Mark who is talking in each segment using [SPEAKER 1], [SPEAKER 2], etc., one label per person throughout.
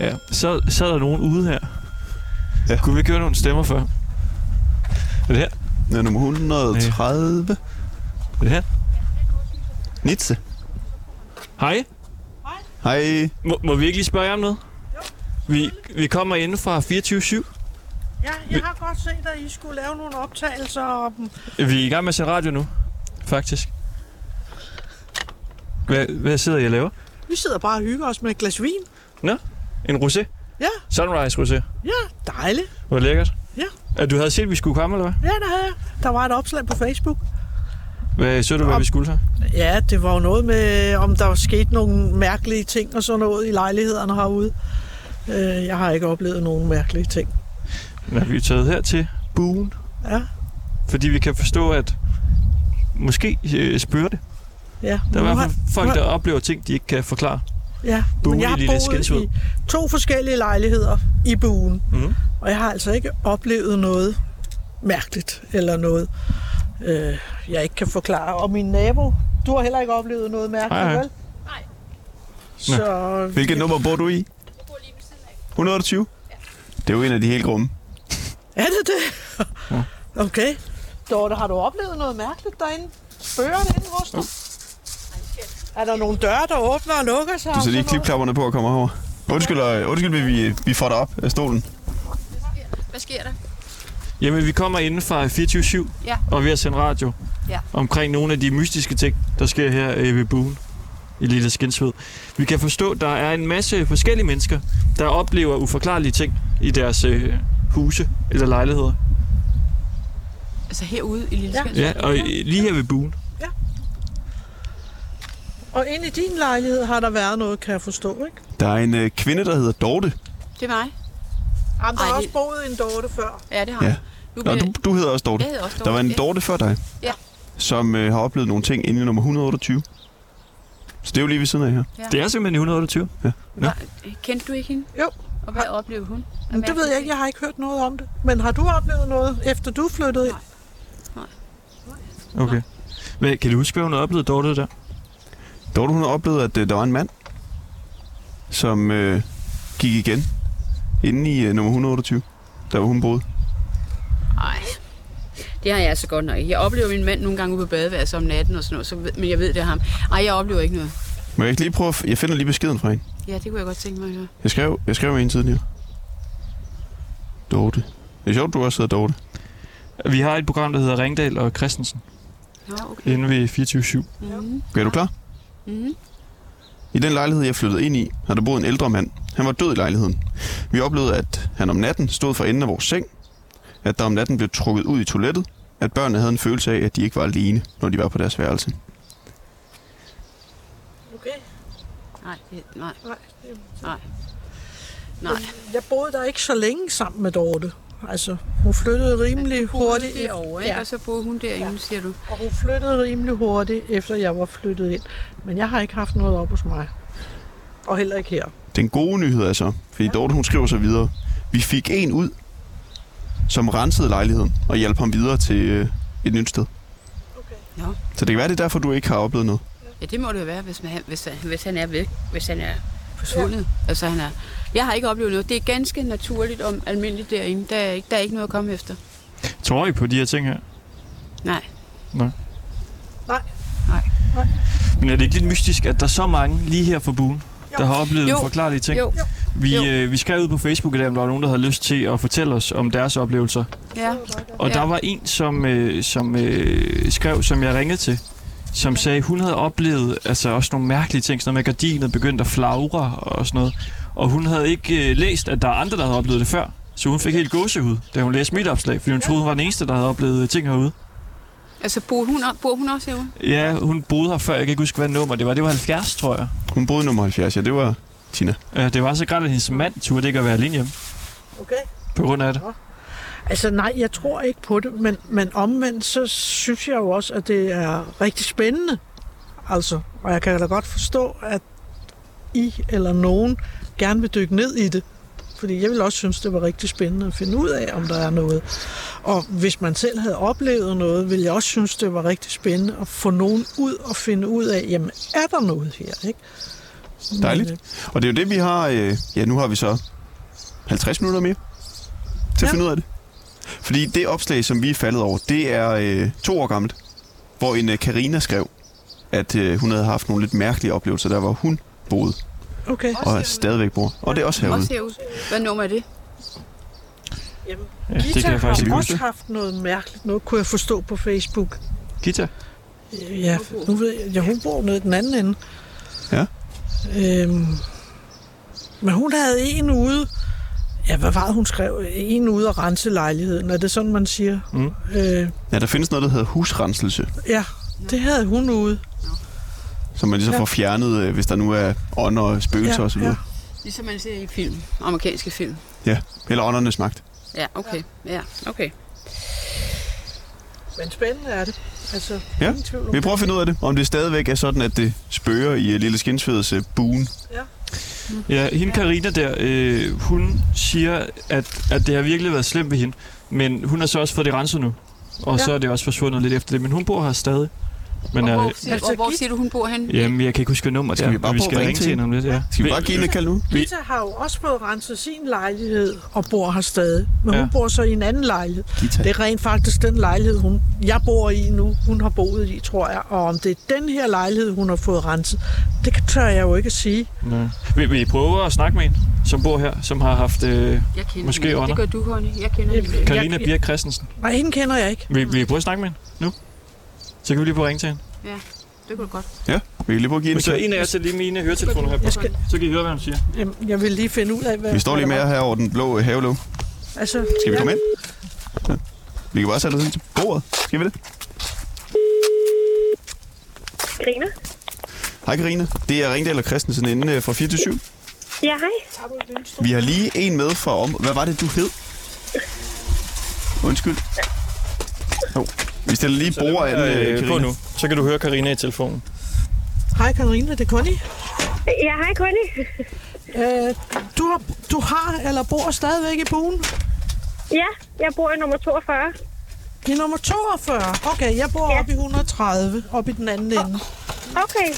[SPEAKER 1] Ja. Så, så er der nogen ude her.
[SPEAKER 2] Ja.
[SPEAKER 1] Ja. Kunne vi ikke høre nogle stemmer før? Er det her?
[SPEAKER 2] Ja, nummer 130.
[SPEAKER 1] Er det her?
[SPEAKER 2] Nitze.
[SPEAKER 1] Hej.
[SPEAKER 2] Hej.
[SPEAKER 1] Må, må vi ikke lige spørge jer om noget? Vi, vi kommer inde fra 24-7.
[SPEAKER 3] Ja, jeg har godt set, at I skulle lave nogle optagelser om...
[SPEAKER 1] Vi er i gang med at sende radio nu, faktisk. Hvad, hvad sidder I og laver?
[SPEAKER 3] Vi sidder bare og hygger os med et glas vin.
[SPEAKER 1] En rosé?
[SPEAKER 3] Ja.
[SPEAKER 1] Sunrise rosé.
[SPEAKER 3] Ja, dejligt.
[SPEAKER 1] Hvor lækkert.
[SPEAKER 3] Ja.
[SPEAKER 1] Er du havde set, at vi skulle komme, eller hvad?
[SPEAKER 3] Ja, der, havde jeg. der var et opslag på Facebook.
[SPEAKER 1] Hvad så du, hvad
[SPEAKER 3] Om-
[SPEAKER 1] vi skulle her?
[SPEAKER 3] Ja, det var jo noget med, om der var sket nogle mærkelige ting og sådan noget i lejlighederne herude. Øh, Jeg har ikke oplevet nogen mærkelige ting.
[SPEAKER 1] Nå, vi er taget her til buen,
[SPEAKER 3] Ja,
[SPEAKER 1] fordi vi kan forstå, at måske øh, spørger det.
[SPEAKER 3] ja.
[SPEAKER 1] Der er i
[SPEAKER 3] Nu
[SPEAKER 1] hvert
[SPEAKER 3] har-
[SPEAKER 1] fald folk,
[SPEAKER 3] nu
[SPEAKER 1] der oplever ting, de ikke kan forklare.
[SPEAKER 3] Ja,
[SPEAKER 1] Buen
[SPEAKER 3] men jeg
[SPEAKER 1] i
[SPEAKER 3] har
[SPEAKER 1] Lille
[SPEAKER 3] boet
[SPEAKER 1] Skensved.
[SPEAKER 3] i to forskellige lejligheder i buen.
[SPEAKER 1] Mhm.
[SPEAKER 3] Og jeg har altså ikke oplevet noget mærkeligt eller noget, øh, jeg ikke kan forklare. Og min nabo, du har heller ikke oplevet noget mærkeligt,
[SPEAKER 1] Nej, nej.
[SPEAKER 3] vel? Så
[SPEAKER 2] Hvilket nummer bor du i? 120? Det er jo en af de helt grumme.
[SPEAKER 3] er det det? Okay. Dorte, har du oplevet noget mærkeligt derinde? Spørger det inde hos dig? Er der nogle døre, der åbner og lukker sig?
[SPEAKER 2] Du
[SPEAKER 3] og
[SPEAKER 2] sætter
[SPEAKER 3] sådan
[SPEAKER 2] lige
[SPEAKER 3] noget?
[SPEAKER 2] klipklapperne på og kommer over. Undskyld, øh, undskyld vi, vi, vi får dig op af stolen.
[SPEAKER 4] Hvad sker der?
[SPEAKER 1] Jamen, vi kommer inden fra 24-7,
[SPEAKER 4] Ja.
[SPEAKER 1] og vi har sendt radio
[SPEAKER 4] Ja.
[SPEAKER 1] omkring nogle af de mystiske ting, der sker her øh, ved buen i Lille Skinsved. Vi kan forstå, at der er en masse forskellige mennesker, der oplever uforklarlige ting i deres øh, huse eller lejligheder.
[SPEAKER 4] Altså herude i Lille
[SPEAKER 3] Ja.
[SPEAKER 4] Skans?
[SPEAKER 1] Ja, og øh, lige her ved buen.
[SPEAKER 3] Og inde i din lejlighed har der været noget, kan jeg forstå, ikke?
[SPEAKER 2] Der er en øh, kvinde, der hedder Dorte.
[SPEAKER 4] Det er mig.
[SPEAKER 3] Jamen, der har
[SPEAKER 4] Ej, det-
[SPEAKER 3] også boet en Dorte før.
[SPEAKER 4] Ja, det har
[SPEAKER 2] Ja.
[SPEAKER 4] jeg. Nu
[SPEAKER 2] Nå, du,
[SPEAKER 4] bliver-
[SPEAKER 2] du hedder også Dorte.
[SPEAKER 4] Jeg hedder også Dorte.
[SPEAKER 2] Der var en
[SPEAKER 4] ja.
[SPEAKER 2] Dorte før dig,
[SPEAKER 4] Ja.
[SPEAKER 2] som øh, har oplevet nogle ting inde i nummer 128. Så det er jo lige ved siden af her.
[SPEAKER 1] Det er simpelthen i 128.
[SPEAKER 4] Var- Øh, Kendte du ikke hende?
[SPEAKER 3] Jo.
[SPEAKER 4] Og hvad oplevede hun?
[SPEAKER 3] Jamen, det ved jeg ikke, jeg har ikke hørt noget om det. Men har du oplevet noget, efter du flyttede ind?
[SPEAKER 1] Okay. Hvad, kan du huske, hvad hun har oplevet, Dorte, der?
[SPEAKER 2] Dorte, hun har oplevet, at øh, der var en mand, som øh, gik igen inde i øh, nummer 128, der hvor hun boede.
[SPEAKER 4] Nej. Det har jeg altså godt nok ikke. Jeg oplever min mand nogle gange ude på badeværelset om natten og sådan noget, så, ved- men jeg ved, det er ham. Ej, jeg oplever ikke noget.
[SPEAKER 2] Må jeg ikke lige prøve at f- Jeg finder lige beskeden fra hende.
[SPEAKER 4] Ja, det kunne jeg godt tænke mig. Så.
[SPEAKER 2] Jeg skrev, jeg skrev en tidligere. Dorte. Det er sjovt, du også hedder Dorte.
[SPEAKER 1] Vi har et program, der hedder Ringdal og Christensen,
[SPEAKER 4] Nå, okay.
[SPEAKER 1] inde ved 24
[SPEAKER 4] Mm-hmm.
[SPEAKER 2] Er du klar?
[SPEAKER 4] Mm-hmm.
[SPEAKER 2] I den lejlighed, jeg flyttede ind i, har der boet en ældre mand. Han var død i lejligheden. Vi oplevede, at han om natten stod for enden af vores seng, at der om natten blev trukket ud i toilettet, at børnene havde en følelse af, at de ikke var alene, når de var på deres værelse.
[SPEAKER 3] Okay,
[SPEAKER 4] Nej, det, nej,
[SPEAKER 3] nej. det-
[SPEAKER 4] nej. Nej.
[SPEAKER 3] Jeg boede der ikke så længe sammen med Dorte. Altså, hun flyttede rimelig hurtigt.
[SPEAKER 4] Det over, ikke? Ja.
[SPEAKER 3] ja,
[SPEAKER 4] Og så boede hun derinde, ja. siger du.
[SPEAKER 3] og hun flyttede rimelig hurtigt, efter jeg var flyttet ind. Men jeg har ikke haft noget op hos mig. Og heller ikke her.
[SPEAKER 2] Den gode nyhed er så, fordi Dorte hun skriver så videre, vi fik en ud, som rensede lejligheden og hjalp ham videre til øh, et nyt sted.
[SPEAKER 3] Okay.
[SPEAKER 4] Nå.
[SPEAKER 2] Så det kan være, det er derfor, du ikke har oplevet noget.
[SPEAKER 4] Ja, det må det jo være, hvis, man, hvis, han- hvis han er væk, hvis han er forsvundet. Ja. Altså, han er, jeg har ikke oplevet noget. Det er ganske naturligt om almindeligt derinde. Der er, ikke, der er ikke noget at komme efter.
[SPEAKER 1] Tror I på de her ting her?
[SPEAKER 4] Nej.
[SPEAKER 3] Nej,
[SPEAKER 1] Men er det ikke lidt mystisk, at der er så mange lige her fra buen, der har oplevet
[SPEAKER 4] Jo.
[SPEAKER 1] uforklarlige ting?
[SPEAKER 4] Jo,
[SPEAKER 1] Vi,
[SPEAKER 4] Jo.
[SPEAKER 1] øh, vi skrev ud på Facebook i dag, om der var nogen, der havde lyst til at fortælle os om deres oplevelser.
[SPEAKER 4] ja.
[SPEAKER 1] Og
[SPEAKER 4] Ja.
[SPEAKER 1] ja. der var en, som, øh, som øh, skrev, som jeg ringede til, som sagde, hun havde oplevet altså, også nogle mærkelige ting, sådan noget med at gardinet begyndte at flagre og sådan noget. Og hun havde ikke øh, læst, at der er andre, der havde oplevet det før. Så hun fik helt gåsehud, da hun læste mit opslag, fordi hun troede, hun var den eneste, der havde oplevet øh, ting herude.
[SPEAKER 4] Altså, bor hun, op- bor hun også herude?
[SPEAKER 1] Ja, hun boede her før. Jeg kan ikke huske, hvad nummer det var. Det var 70, tror jeg.
[SPEAKER 2] Hun boede i nummer 70, ja, det var Tina.
[SPEAKER 1] Øh, det var så grædt, at hendes mand turde ikke at være alene hjemme
[SPEAKER 3] okay.
[SPEAKER 1] på grund af det.
[SPEAKER 3] Altså nej, jeg tror ikke på det, men, men omvendt, så synes jeg jo også, at det er rigtig spændende. Altså, og jeg kan da godt forstå, at I eller nogen gerne vil dykke ned i det. Fordi jeg ville også synes, det var rigtig spændende at finde ud af, om der er noget. Og hvis man selv havde oplevet noget, ville jeg også synes, det var rigtig spændende at få nogen ud og finde ud af, jamen er der noget her, ikke? øh,
[SPEAKER 2] Dejligt. Og det er jo det, vi har... Øh, ja, nu har vi så 50 minutter mere til at
[SPEAKER 3] Ja.
[SPEAKER 2] finde ud af det. Fordi det opslag, som vi er faldet over, det er øh, to år gammelt, hvor en øh, Karina skrev, at øh, hun havde haft nogle lidt mærkelige oplevelser, der hvor hun boede
[SPEAKER 3] Okay.
[SPEAKER 2] og stadigvæk bor. Og det er også herude.
[SPEAKER 4] Også herude. Hvad nummer er det?
[SPEAKER 3] Jamen,
[SPEAKER 1] Ja, det kan
[SPEAKER 3] Gita
[SPEAKER 1] jeg
[SPEAKER 2] Kan
[SPEAKER 1] faktisk ikke
[SPEAKER 2] vi
[SPEAKER 3] har
[SPEAKER 1] huske.
[SPEAKER 3] også haft noget mærkeligt. Noget kunne jeg forstå på Facebook.
[SPEAKER 1] Gita?
[SPEAKER 3] Ja, nu ved jeg, ja, hun bor nede i den anden ende.
[SPEAKER 2] Ja.
[SPEAKER 3] Øhm, men hun havde en ude, ja, hvad var det, hun skrev? En ude at rense lejligheden, er det sådan, man siger?
[SPEAKER 1] Mm.
[SPEAKER 3] Øh,
[SPEAKER 2] Ja, der findes noget, der hedder husrenselse,
[SPEAKER 3] ja, det havde hun ude.
[SPEAKER 2] som man ligesom
[SPEAKER 3] Ja.
[SPEAKER 2] får fjernet, øh, hvis der nu er ånder og spøgelser
[SPEAKER 3] Ja,
[SPEAKER 2] osv.
[SPEAKER 3] ja.
[SPEAKER 4] Ligesom man ser i film. Amerikanske film.
[SPEAKER 2] Eller åndernes magt.
[SPEAKER 4] Ja, okay. Ja, okay.
[SPEAKER 3] Men spændende er det. Altså,
[SPEAKER 2] Ja,
[SPEAKER 3] ingen tvivl om
[SPEAKER 2] Vi
[SPEAKER 3] det.
[SPEAKER 2] prøver at finde ud af det, om det stadigvæk er sådan, at det spørger i øh, Lille Skinsfeds øh, buen.
[SPEAKER 1] Ja, hende Karina der, øh, hun siger, at, at det har virkelig været slemt ved hende. Men hun har så også fået det renset nu. Og ja.
[SPEAKER 3] Ja.
[SPEAKER 1] så er det også forsvundet lidt efter det. Men hun bor her stadig. Men
[SPEAKER 4] og,
[SPEAKER 1] er,
[SPEAKER 4] hvor,
[SPEAKER 1] øh,
[SPEAKER 4] siger,
[SPEAKER 3] Altså,
[SPEAKER 4] og hvor
[SPEAKER 3] Git-
[SPEAKER 4] siger du, hun bor henne?
[SPEAKER 1] jamen, jeg kan ikke huske, hvad nummer det
[SPEAKER 2] Skal
[SPEAKER 1] er,
[SPEAKER 2] vi bare
[SPEAKER 1] men vi
[SPEAKER 2] prøve at
[SPEAKER 1] skal
[SPEAKER 2] ringe
[SPEAKER 1] ringe
[SPEAKER 2] til
[SPEAKER 1] til hende om lidt. Ja.
[SPEAKER 2] Skal vi bare give hende et kald nu?
[SPEAKER 3] Gita har jo også fået renset sin lejlighed og bor her stadig. Men
[SPEAKER 1] Ja.
[SPEAKER 3] ja. hun bor så i en anden lejlighed.
[SPEAKER 2] Gita.
[SPEAKER 3] Det er rent faktisk den lejlighed, hun, jeg bor i nu, hun har boet i, tror jeg. Og om det er den her lejlighed, hun har fået renset, det kan- tør jeg jo ikke at sige.
[SPEAKER 1] Nej. Vil vi prøve at snakke med en, som bor her, som har haft øh,
[SPEAKER 4] Jeg kender
[SPEAKER 1] Måske
[SPEAKER 4] hende.
[SPEAKER 1] Ånder.
[SPEAKER 4] Det gør du, Honey. Jeg kender
[SPEAKER 3] Jamen,
[SPEAKER 4] hende.
[SPEAKER 1] Karina
[SPEAKER 3] Jeg-
[SPEAKER 1] Birk Christensen?
[SPEAKER 3] Nej, hende kender jeg ikke.
[SPEAKER 1] Vil, vil vi prøve at snakke med hende nu? Så kan vi lige prøve at ringe til hende.
[SPEAKER 4] Det kunne du godt.
[SPEAKER 2] Ja, vi kan lige prøve at give
[SPEAKER 1] Hvis
[SPEAKER 2] hende
[SPEAKER 1] der er
[SPEAKER 2] et
[SPEAKER 1] en af jer til lige mine høretelefoner her på,
[SPEAKER 3] Jeg, skal,
[SPEAKER 1] så kan I høre, hvad hun siger.
[SPEAKER 3] jamen, jeg vil lige finde ud af, hvad...
[SPEAKER 2] kald. Vi står lige med jer her over den blå øh, havelåg.
[SPEAKER 3] Altså,
[SPEAKER 2] Skal vi
[SPEAKER 3] ja.
[SPEAKER 2] komme ind? Ja. Vi kan bare sætte os ind til bordet. Skal vi det?
[SPEAKER 5] Karina?
[SPEAKER 2] Hej Karina, det er Ringdal og Christensen inden øh, fra 4 til 7.
[SPEAKER 5] Ja, hej.
[SPEAKER 2] Vi har lige en med fra om... Hvad var det, du hed? Undskyld. Oh. Vi stiller lige bordet an, øh,
[SPEAKER 1] på
[SPEAKER 2] Karina.
[SPEAKER 1] nu. Så kan du høre Karina i telefonen.
[SPEAKER 3] Hej Karina, det er Connie.
[SPEAKER 5] Ja, hej Connie.
[SPEAKER 3] Øh, du, har, du har eller bor stadigvæk i buen?
[SPEAKER 5] Ja, jeg bor i nummer 42.
[SPEAKER 3] I nummer 42. Okay, jeg bor
[SPEAKER 5] Ja.
[SPEAKER 3] ja. oppe i 130, oppe i den anden ende.
[SPEAKER 5] Okay.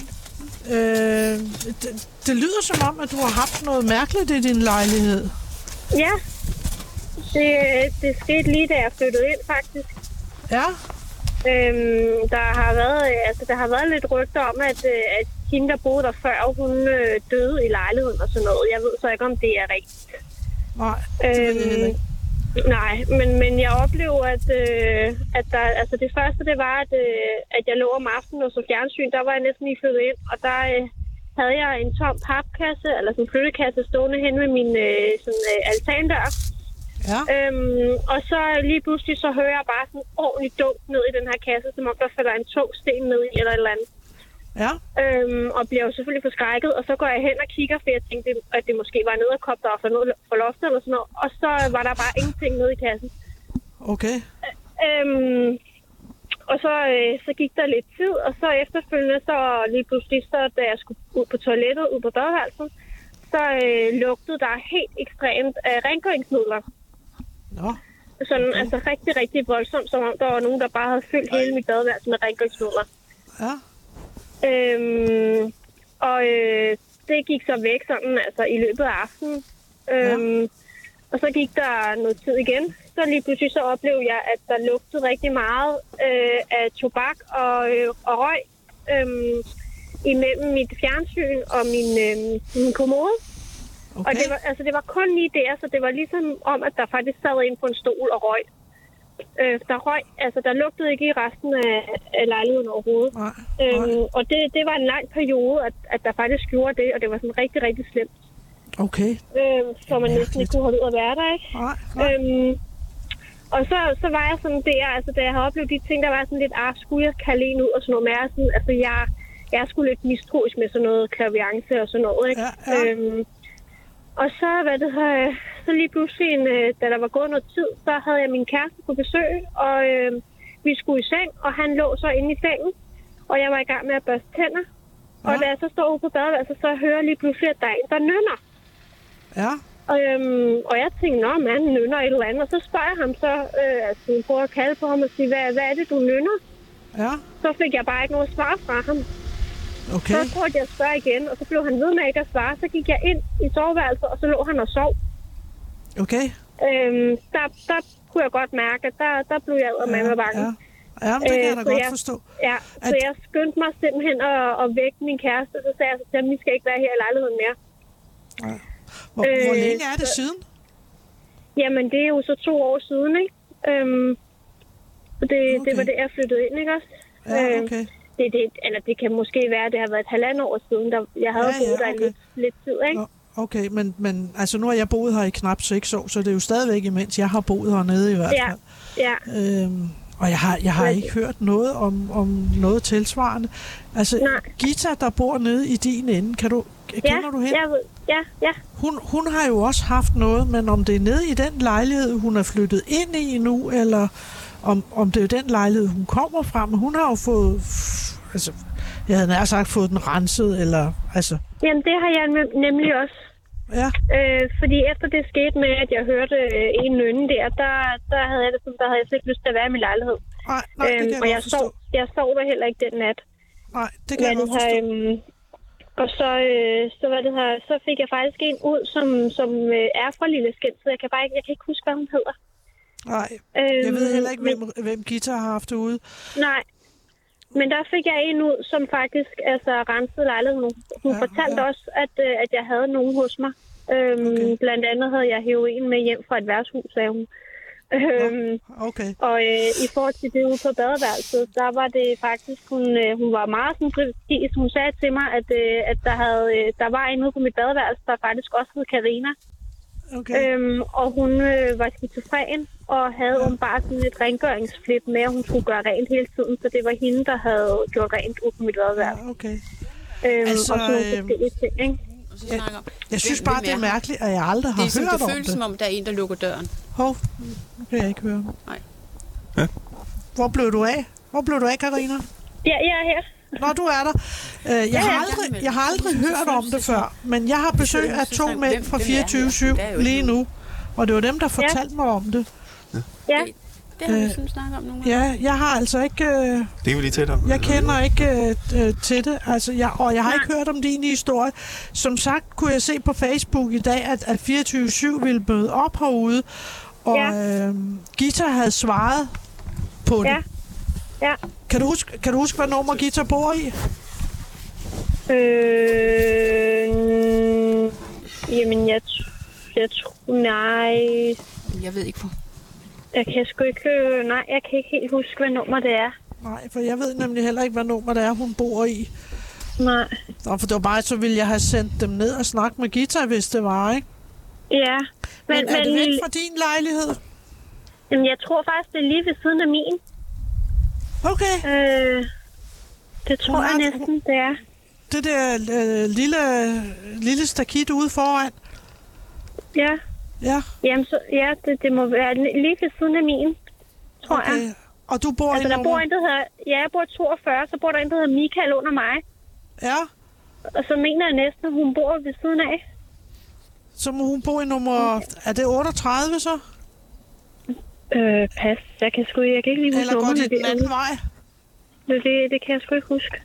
[SPEAKER 3] Øh, det, det lyder som om, at du har haft noget mærkeligt i din lejlighed.
[SPEAKER 5] Ja. Det, det skete lige da jeg flyttede ind, faktisk.
[SPEAKER 3] Ja,
[SPEAKER 5] Øhm, der, har været, øh, altså, der har været lidt rygter om, at, øh, at hende, der boede der før, hun øh, døde i lejligheden og sådan noget. Jeg ved så ikke, om det er rigtigt.
[SPEAKER 3] nej.
[SPEAKER 5] Øhm, nej, men, men jeg oplever, at, øh, at der, altså det første det var, at, øh, at jeg lå om aftenen og så fjernsyn. Der var jeg næsten lige flyttet ind, og der øh, havde jeg en tom papkasse, eller sådan en flyttekasse, stående hen ved min øh, sådan, øh, altandør.
[SPEAKER 3] Ja.
[SPEAKER 5] Øhm, og så lige pludselig så hører jeg bare sådan ordentligt dunk ned i den her kasse, som om der falder en tung sten ned i eller et eller andet.
[SPEAKER 3] Ja,
[SPEAKER 5] Øhm, og bliver jo selvfølgelig forskrækket, og så går jeg hen og kigger, for jeg tænkte, at det måske var en edderkop, der var fra ned- fra loftet eller sådan noget. Og så var der bare ingenting nede i kassen.
[SPEAKER 3] okay.
[SPEAKER 5] Øhm, og så, øh, så gik der lidt tid, og så efterfølgende, så lige pludselig, så, da jeg skulle ud på toilettet, ud på badeværelset, så øh, lugtede der helt ekstremt af rengøringsmidler.
[SPEAKER 3] Nå.
[SPEAKER 5] Sådan, okay. altså rigtig, rigtig voldsomt, som om der var nogen, der bare havde fyldt hele mit badeværelse med rengøringsmidler.
[SPEAKER 3] Ja,
[SPEAKER 5] Øhm, og øh, det gik så væk sådan, altså i løbet af aftenen. Øhm, ja. Og så gik der noget tid igen. Så lige pludselig så oplevede jeg, at der lugtede rigtig meget øh, af tobak og, øh, og røg øhm, imellem mit fjernsyn og min, øh, min kommode. Okay. Og det var, altså, det var kun lige der, så det var ligesom om, at der faktisk sad en på en stol og røg. Øh, der røg, altså der lugtede ikke i resten af, af lejligheden overhovedet.
[SPEAKER 3] nej.
[SPEAKER 5] Øhm, og det, det var en lang periode, at, at der faktisk gjorde det, og det var sådan rigtig, rigtig slemt.
[SPEAKER 3] Okay,
[SPEAKER 5] Øhm, så man næsten ikke kunne holde ud at være der, ikke?
[SPEAKER 3] nej. nej.
[SPEAKER 5] Øhm, og så, så var jeg sådan der, altså da jeg havde oplevet de ting, der var jeg sådan lidt, ah, skulle jeg kalde en ud og sådan noget med, sådan, altså jeg, jeg er sgu lidt mistroisk med sådan noget klaviance og sådan noget, ikke?
[SPEAKER 3] Ja, ja.
[SPEAKER 5] Øhm, og så, hvad det her, så lige pludselig, en, øh, da der var gået noget tid, så havde jeg min kæreste på besøg, og øh, vi skulle i seng, og han lå så inde i sengen, og jeg var i gang med at børste tænder. Og
[SPEAKER 3] Ja.
[SPEAKER 5] da jeg så står ude på badeværelset, så hører jeg lige pludselig, at der er en, der nynner.
[SPEAKER 3] Ja,
[SPEAKER 5] Øhm, og jeg tænkte, nå, mand nynner et eller andet. Og så spørger jeg ham så, øh, altså hun prøver at kalde på ham og sige, hvad, hvad er det, du nynner?
[SPEAKER 3] ja.
[SPEAKER 5] Så fik jeg bare ikke noget svar fra ham.
[SPEAKER 3] Okay.
[SPEAKER 5] Så prøvede jeg at spørge igen, og så blev han ved med ikke at svare. Så gik jeg ind i soveværelset, og så lå han og sov.
[SPEAKER 3] Okay.
[SPEAKER 5] Øhm, der, der kunne jeg godt mærke, at der, der blev jeg ud med mig bange.
[SPEAKER 3] Ja. ja, men det kan
[SPEAKER 5] Øh,
[SPEAKER 3] jeg da
[SPEAKER 5] så
[SPEAKER 3] godt
[SPEAKER 5] jeg-
[SPEAKER 3] forstå.
[SPEAKER 5] Ja, så
[SPEAKER 3] At-
[SPEAKER 5] jeg skyndte mig simpelthen at, at vække min kæreste, og så sagde jeg så til ham, vi skal ikke være her i lejligheden mere.
[SPEAKER 3] Hvor, hvor
[SPEAKER 5] øh,
[SPEAKER 3] længe er det siden?
[SPEAKER 5] Jamen, det er jo så to år siden, ikke? Øhm, så det, okay. det
[SPEAKER 3] Okay.
[SPEAKER 5] var det, jeg flyttede ind, ikke også?
[SPEAKER 3] Ja,
[SPEAKER 5] øh,
[SPEAKER 3] okay.
[SPEAKER 5] Det, det, eller det kan måske være, at det har været et halvandet år siden, der jeg havde
[SPEAKER 3] Ja, ja,
[SPEAKER 5] boet der i
[SPEAKER 3] okay.
[SPEAKER 5] lidt, lidt tid, ikke?
[SPEAKER 3] Nå, Okay, men, men altså, nu har jeg boet her i knap seks år, så det er jo stadigvæk imens jeg har boet hernede i hvert
[SPEAKER 5] Ja,
[SPEAKER 3] fald.
[SPEAKER 5] ja.
[SPEAKER 3] Øhm, og jeg har, jeg har
[SPEAKER 5] Men-
[SPEAKER 3] ikke hørt noget om, om noget tilsvarende. Altså,
[SPEAKER 5] Nej.
[SPEAKER 3] Gita, der bor nede i din ende, kan du, kender
[SPEAKER 5] ja,
[SPEAKER 3] du hende?
[SPEAKER 5] Jeg ved, ja, ja.
[SPEAKER 3] Hun, hun har jo også haft noget, men om det er nede i den lejlighed, hun er flyttet ind i nu, eller om, om det er den lejlighed, hun kommer fra, men hun har jo fået, f- altså, jeg havde nær sagt fået den renset, eller, altså,
[SPEAKER 5] Jamen, det har jeg nem- nemlig også.
[SPEAKER 3] ja,
[SPEAKER 5] Øh, fordi efter det skete med, at jeg hørte øh, en nønne der, der, der havde jeg det sådan, der havde jeg slet ikke lyst til at være i min lejlighed. Øhm,
[SPEAKER 3] nej, nej, det kan jeg
[SPEAKER 5] og
[SPEAKER 3] godt
[SPEAKER 5] jeg
[SPEAKER 3] forstå.
[SPEAKER 5] sov, jeg sov der heller ikke den nat.
[SPEAKER 3] Nej, det kan jeg godt
[SPEAKER 5] her,
[SPEAKER 3] forstå.
[SPEAKER 5] øhm, og så, øh, så, hvad det her, så fik jeg faktisk en ud, som, som øh, er fra Lille Skind, så jeg kan bare ikke, jeg kan ikke huske, hvad hun hedder.
[SPEAKER 3] Nej,
[SPEAKER 5] Øhm,
[SPEAKER 3] jeg ved heller ikke,
[SPEAKER 5] men-
[SPEAKER 3] hvem, hvem Gita har haft ude.
[SPEAKER 5] Nej. Men der fik jeg en ud, som faktisk altså, rensede lejligheden. Hun
[SPEAKER 3] Ja,
[SPEAKER 5] ja, fortalte
[SPEAKER 3] ja.
[SPEAKER 5] ja. også, at, øh, at jeg havde nogen hos mig. Øhm,
[SPEAKER 3] Okay.
[SPEAKER 5] okay. Blandt andet havde jeg heroin med hjem fra et værtshus, sagde hun. Øhm,
[SPEAKER 3] Okay,
[SPEAKER 5] og øh, i forhold til det ude på badeværelset, der var det faktisk, hun, øh, hun var meget sådan kritisk. Hun sagde til mig, at, øh, at der, havde, øh, der var en ude på mit badeværelse, der faktisk også hed Karina.
[SPEAKER 3] okay.
[SPEAKER 5] Øhm, og hun øh, var skizofren og havde åbenbart sådan et rengøringsflip med, at hun skulle gøre rent hele tiden, så det var hende, der havde gjort rent ud på mit vadeværelse.
[SPEAKER 3] Ja, okay.
[SPEAKER 5] Øhm,
[SPEAKER 3] Altså,
[SPEAKER 5] altså, og sådan nogle
[SPEAKER 3] øhm,
[SPEAKER 5] forskellige ting, ikke?
[SPEAKER 4] Og så
[SPEAKER 3] Ja.
[SPEAKER 4] snakker om,
[SPEAKER 3] Jeg synes
[SPEAKER 4] hvem-
[SPEAKER 3] bare,
[SPEAKER 4] hvem
[SPEAKER 3] det er
[SPEAKER 4] han?
[SPEAKER 3] mærkeligt, at jeg aldrig har
[SPEAKER 4] Det, er sådan,
[SPEAKER 3] hørt
[SPEAKER 4] det
[SPEAKER 3] om
[SPEAKER 4] føles som
[SPEAKER 3] det.
[SPEAKER 4] om, der er en, der lukker døren.
[SPEAKER 3] Hov, nu kan jeg ikke høre.
[SPEAKER 4] Nej.
[SPEAKER 2] Ja.
[SPEAKER 3] Hvor blev du af? Hvor blev du af, Karina?
[SPEAKER 5] Ja, jeg er her.
[SPEAKER 3] Nå, du er der. Øh, Jeg har aldrig, jeg har aldrig hørt om det før, men jeg har besøg af to mænd fra 24-7 lige nu, og det var dem, der fortalte mig om det.
[SPEAKER 5] Ja,
[SPEAKER 4] Det, det har vi
[SPEAKER 3] Øh,
[SPEAKER 4] sådan snakket om nogle gange.
[SPEAKER 3] Ja, jeg har altså ikke... øh,
[SPEAKER 2] Det kan vi lige tale om.
[SPEAKER 3] Jeg kender ikke øh, øh, til det, altså, jeg, og jeg har ikke hørt om din historie. Som sagt kunne jeg se på Facebook i dag, at, at 24-7 ville møde op herude, og ja.
[SPEAKER 5] Ja.
[SPEAKER 3] øh, Gita havde svaret på det.
[SPEAKER 5] Ja. Ja.
[SPEAKER 3] Kan, du huske, kan du huske, hvad nummer Gita bor i?
[SPEAKER 5] øh, jamen, jeg, tr- jeg tror, nej,
[SPEAKER 4] Jeg ved ikke, hvor.
[SPEAKER 5] jeg kan sgu ikke, øh, nej, jeg kan ikke helt huske, hvad nummer det er.
[SPEAKER 3] Nej, for jeg ved nemlig heller ikke, hvad nummer det er, hun bor i.
[SPEAKER 5] Nej.
[SPEAKER 3] Nå, for det var bare, så ville jeg have sendt dem ned og snakket med Gita, hvis det var, ikke?
[SPEAKER 5] Ja,
[SPEAKER 3] Men,
[SPEAKER 5] men,
[SPEAKER 3] men er det væk
[SPEAKER 5] men
[SPEAKER 3] fra din lejlighed?
[SPEAKER 5] jamen, jeg tror faktisk, det er lige ved siden af min.
[SPEAKER 3] Okay,
[SPEAKER 5] Øh, det tror
[SPEAKER 3] Hun
[SPEAKER 5] jeg
[SPEAKER 3] har-
[SPEAKER 5] næsten, det er.
[SPEAKER 3] det der øh, lille, lille stakit ude foran.
[SPEAKER 5] Ja,
[SPEAKER 3] Ja,
[SPEAKER 5] Jamen, så, ja det, det må være lige ved siden af min, tror okay. jeg.
[SPEAKER 3] okay. Og du bor
[SPEAKER 5] Altså,
[SPEAKER 3] i
[SPEAKER 5] der
[SPEAKER 3] nummer...
[SPEAKER 5] bor en, der hedder, ja, jeg bor i 42, så bor der en, der hedder Michael under mig.
[SPEAKER 3] Ja,
[SPEAKER 5] Og så mener jeg næsten, at hun bor ved siden af.
[SPEAKER 3] så må hun bo i nummer... Er det 38 så?
[SPEAKER 5] Øh, pas. Jeg kan sgu jeg kan ikke lige huske
[SPEAKER 3] Eller går
[SPEAKER 5] nummerne,
[SPEAKER 3] det den anden
[SPEAKER 5] det,
[SPEAKER 3] vej?
[SPEAKER 5] det, det, det kan jeg sgu ikke huske.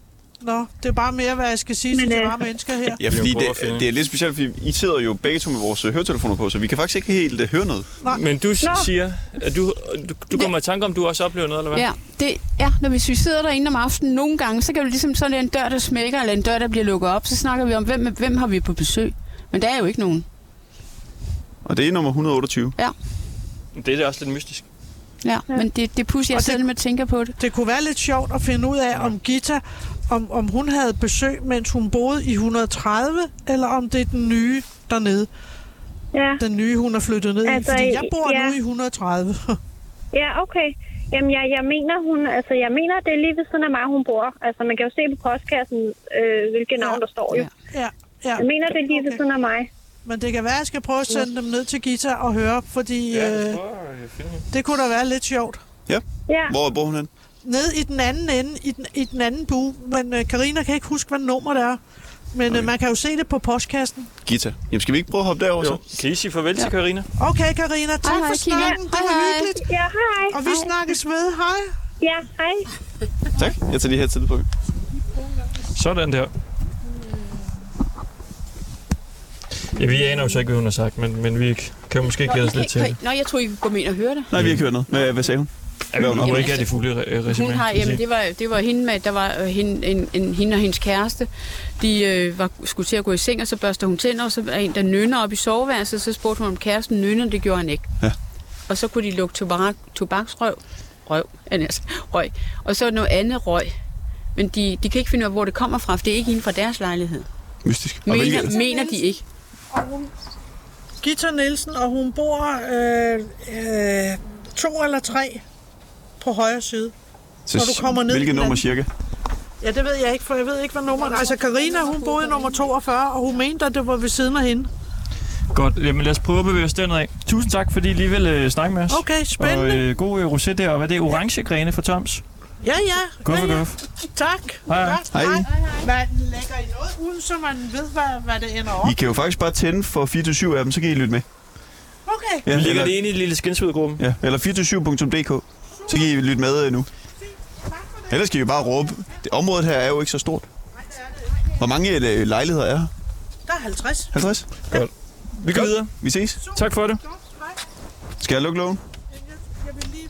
[SPEAKER 3] Nå, det er bare mere, hvad jeg skal sige til
[SPEAKER 5] Men,
[SPEAKER 3] de
[SPEAKER 5] øh,
[SPEAKER 3] rare mennesker her.
[SPEAKER 2] Ja,
[SPEAKER 6] Vi
[SPEAKER 2] fordi
[SPEAKER 6] må prøve at
[SPEAKER 2] det,
[SPEAKER 6] finde-
[SPEAKER 2] det er lidt specielt, fordi I sidder jo begge to med vores øh, høretelefoner på, så vi kan faktisk ikke helt øh, høre noget.
[SPEAKER 6] Men du
[SPEAKER 5] Nå.
[SPEAKER 6] siger, at du, du, du kommer i tanke om, du også oplever noget, eller hvad?
[SPEAKER 4] Ja, det, ja, når vi hvis vi sidder derinde om aftenen nogle gange, så kan du ligesom sådan en dør, der smækker, eller en dør, der bliver lukket op, så snakker vi om, hvem, hvem har vi på besøg. Men der er jo ikke nogen.
[SPEAKER 2] Og det er nummer 128.
[SPEAKER 6] Det er da også lidt mystisk.
[SPEAKER 4] Ja, ja. men det, det pusser jeg
[SPEAKER 3] Og det-
[SPEAKER 4] selv med at tænke på det.
[SPEAKER 3] Det kunne være lidt sjovt at finde ud af, om Gita, om, om hun havde besøg, mens hun boede i 130, eller om det er den nye dernede.
[SPEAKER 5] Ja,
[SPEAKER 3] Den nye, hun er flyttet ned altså,
[SPEAKER 5] Altså,
[SPEAKER 3] i. Fordi jeg
[SPEAKER 5] i-
[SPEAKER 3] bor
[SPEAKER 5] ja.
[SPEAKER 3] nu i 130.
[SPEAKER 5] ja okay. Jamen, jeg, jeg mener, hun, altså, jeg mener, det er lige ved siden af mig, hun bor. Altså, man kan jo se på postkassen, øh, hvilket navn, der står jo.
[SPEAKER 4] Ja.
[SPEAKER 3] ja, ja.
[SPEAKER 5] Jeg mener, det er lige ved
[SPEAKER 3] Okay.
[SPEAKER 5] siden af mig.
[SPEAKER 3] Men det kan være, at jeg skal prøve at sende dem ned til Gita og høre, fordi øh, det kunne da være lidt sjovt.
[SPEAKER 5] Ja,
[SPEAKER 2] Hvor bor hun hen?
[SPEAKER 3] ned i den anden ende, i den, i den anden bue, men øh, Karina kan ikke huske, hvad nummer det er. Men okay. øh, man kan jo se det på postkassen.
[SPEAKER 2] Gita. Jamen, skal vi ikke prøve at hoppe derover så?
[SPEAKER 6] Jo. Kan I sige farvel til Karina?
[SPEAKER 3] Okay, Karina, tak for
[SPEAKER 4] Hej, hej, Kina.
[SPEAKER 3] snakken. Det
[SPEAKER 4] Hej,
[SPEAKER 3] var
[SPEAKER 4] hej.
[SPEAKER 3] hyggeligt.
[SPEAKER 5] ja hej.
[SPEAKER 3] Og vi snakkes ved. Hej.
[SPEAKER 5] Ja, hej.
[SPEAKER 2] Tak. Jeg tager lige her til på.
[SPEAKER 1] Sådan der. Ja, vi aner jo så ikke, hvad hun har sagt, men, men vi kan jo måske glæde os lidt til det.
[SPEAKER 4] Nå, jeg tror, I kunne gå med ind og høre det.
[SPEAKER 2] Nej, vi har ikke hørt noget. Hvad, hvad sagde hun?
[SPEAKER 1] Ja, vi
[SPEAKER 2] Hvad hun
[SPEAKER 1] må
[SPEAKER 2] har-
[SPEAKER 1] jo ikke have det fulde re- Øh, resume.
[SPEAKER 4] Hun har,
[SPEAKER 1] kan man sige.
[SPEAKER 4] jamen, det var, det var hende, med, der var øh, hende, en, en, hende og hendes kæreste. De øh, var, skulle til at gå i seng, og så børster hun tænder, og så er en, der nynner op i soveværelset. Så spurgte hun, om kæresten nynner, det gjorde han ikke.
[SPEAKER 2] Ja.
[SPEAKER 4] Og så kunne de lukke tobak, tobaksrøv. Røv, er det altså, røg. Og så noget andet røg. Men de, de kan ikke finde ud af, hvor det kommer fra, for det er ikke inden fra deres lejlighed.
[SPEAKER 2] Mystisk. Og hvilke,
[SPEAKER 4] Mener, mener de ikke.
[SPEAKER 3] Gita Nielsen, og hun bor øh, øh, to eller tre på højre side.
[SPEAKER 2] så,
[SPEAKER 3] når du kommer ned
[SPEAKER 2] hvilke
[SPEAKER 3] i den-
[SPEAKER 2] nummer cirka?
[SPEAKER 3] Ja, det ved jeg ikke, for jeg ved ikke, hvad nummer... Altså, Karina, hun boede i nummer 42, og hun mente, at det var ved siden af hende.
[SPEAKER 1] Godt, jamen lad os prøve at bevæge os derned af. Tusind tak, fordi I lige vil øh, snakke med os.
[SPEAKER 3] Okay, spændende.
[SPEAKER 1] Og øh, god øh, rosé der, og hvad er det? Orange grene fra Toms?
[SPEAKER 3] Ja, ja.
[SPEAKER 1] Guff
[SPEAKER 3] ja,
[SPEAKER 1] og
[SPEAKER 3] ja.
[SPEAKER 1] guff.
[SPEAKER 3] Tak.
[SPEAKER 1] Hej, hej.
[SPEAKER 2] Hej.
[SPEAKER 3] Man lægger i noget ud, så man ved, hvad, hvad det ender
[SPEAKER 2] I kan jo faktisk bare tænde for 427 af dem, så kan I lytte med.
[SPEAKER 3] Okay.
[SPEAKER 2] Ja,
[SPEAKER 1] Vi ligger
[SPEAKER 2] eller,
[SPEAKER 1] det inde i en lille skinsvidgruppe.
[SPEAKER 2] ja, eller 427.dk, så kan I lytte med øh, nu. Ellers skal I jo bare råbe. Det, området her er jo ikke så stort. Hvor mange øh, lejligheder er her?
[SPEAKER 3] Der er 50.
[SPEAKER 2] 50?
[SPEAKER 1] Vi går videre.
[SPEAKER 2] Vi ses.
[SPEAKER 1] Tak for det.
[SPEAKER 2] Skal jeg lukke lågen?
[SPEAKER 3] Jeg vil lige...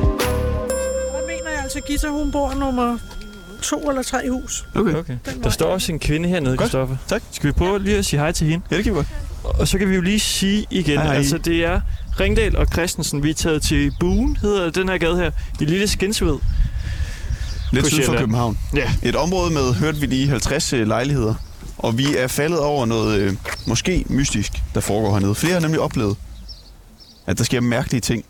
[SPEAKER 3] Der mener jeg altså, Gita, hun bor nummer to eller tre i hus.
[SPEAKER 2] Okay.
[SPEAKER 1] Okay. Der står også en kvinde hernede,
[SPEAKER 2] Godt.
[SPEAKER 1] Kristoffer.
[SPEAKER 2] Tak.
[SPEAKER 1] Skal vi prøve lige at sige hej til hende?
[SPEAKER 2] Ja, det kan vi godt.
[SPEAKER 1] Og så kan vi jo lige sige igen,
[SPEAKER 2] Hej,
[SPEAKER 1] hej.
[SPEAKER 2] hej.
[SPEAKER 1] altså det er Ringdal og Christensen. Vi er taget til Buen, hedder den her gade her, i Lille Skinsved.
[SPEAKER 2] Lidt
[SPEAKER 1] På
[SPEAKER 2] syd for
[SPEAKER 1] Sjælland.
[SPEAKER 2] København.
[SPEAKER 1] Ja.
[SPEAKER 2] Et område med, hørte vi lige, 50 øh, lejligheder. Og vi er faldet over noget øh, måske mystisk, der foregår hernede. Flere har nemlig oplevet, at der sker mærkelige ting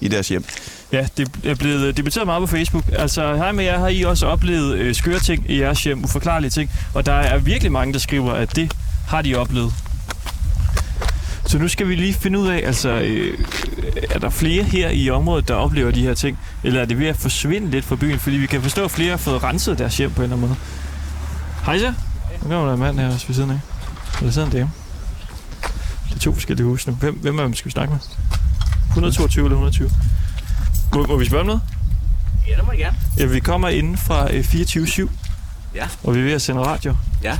[SPEAKER 2] i deres hjem.
[SPEAKER 1] Ja, det er blevet debatteret meget på Facebook. Altså, hej med jer, har I også oplevet øh, skøre ting i jeres hjem, uforklarlige ting? Og der er virkelig mange, der skriver, at det har de oplevet. Så nu skal vi lige finde ud af, altså, øh, er der flere her i området, der oplever de her ting? Eller er det ved at forsvinde lidt fra byen? Fordi vi kan forstå, at flere har fået renset deres hjem på en eller anden måde. Hej så. Nu kommer der en mand her også ved siden af. Og der sidder en dame. Det er to forskellige huse nu. Hvem, hvem af dem skal vi snakke med? 122 eller 120? Må, må vi spørge om noget?
[SPEAKER 7] Ja, det må I gerne.
[SPEAKER 1] Ja, vi kommer inden fra øh, 24-7.
[SPEAKER 7] Ja.
[SPEAKER 1] Og vi er ved at sende radio.
[SPEAKER 7] Ja.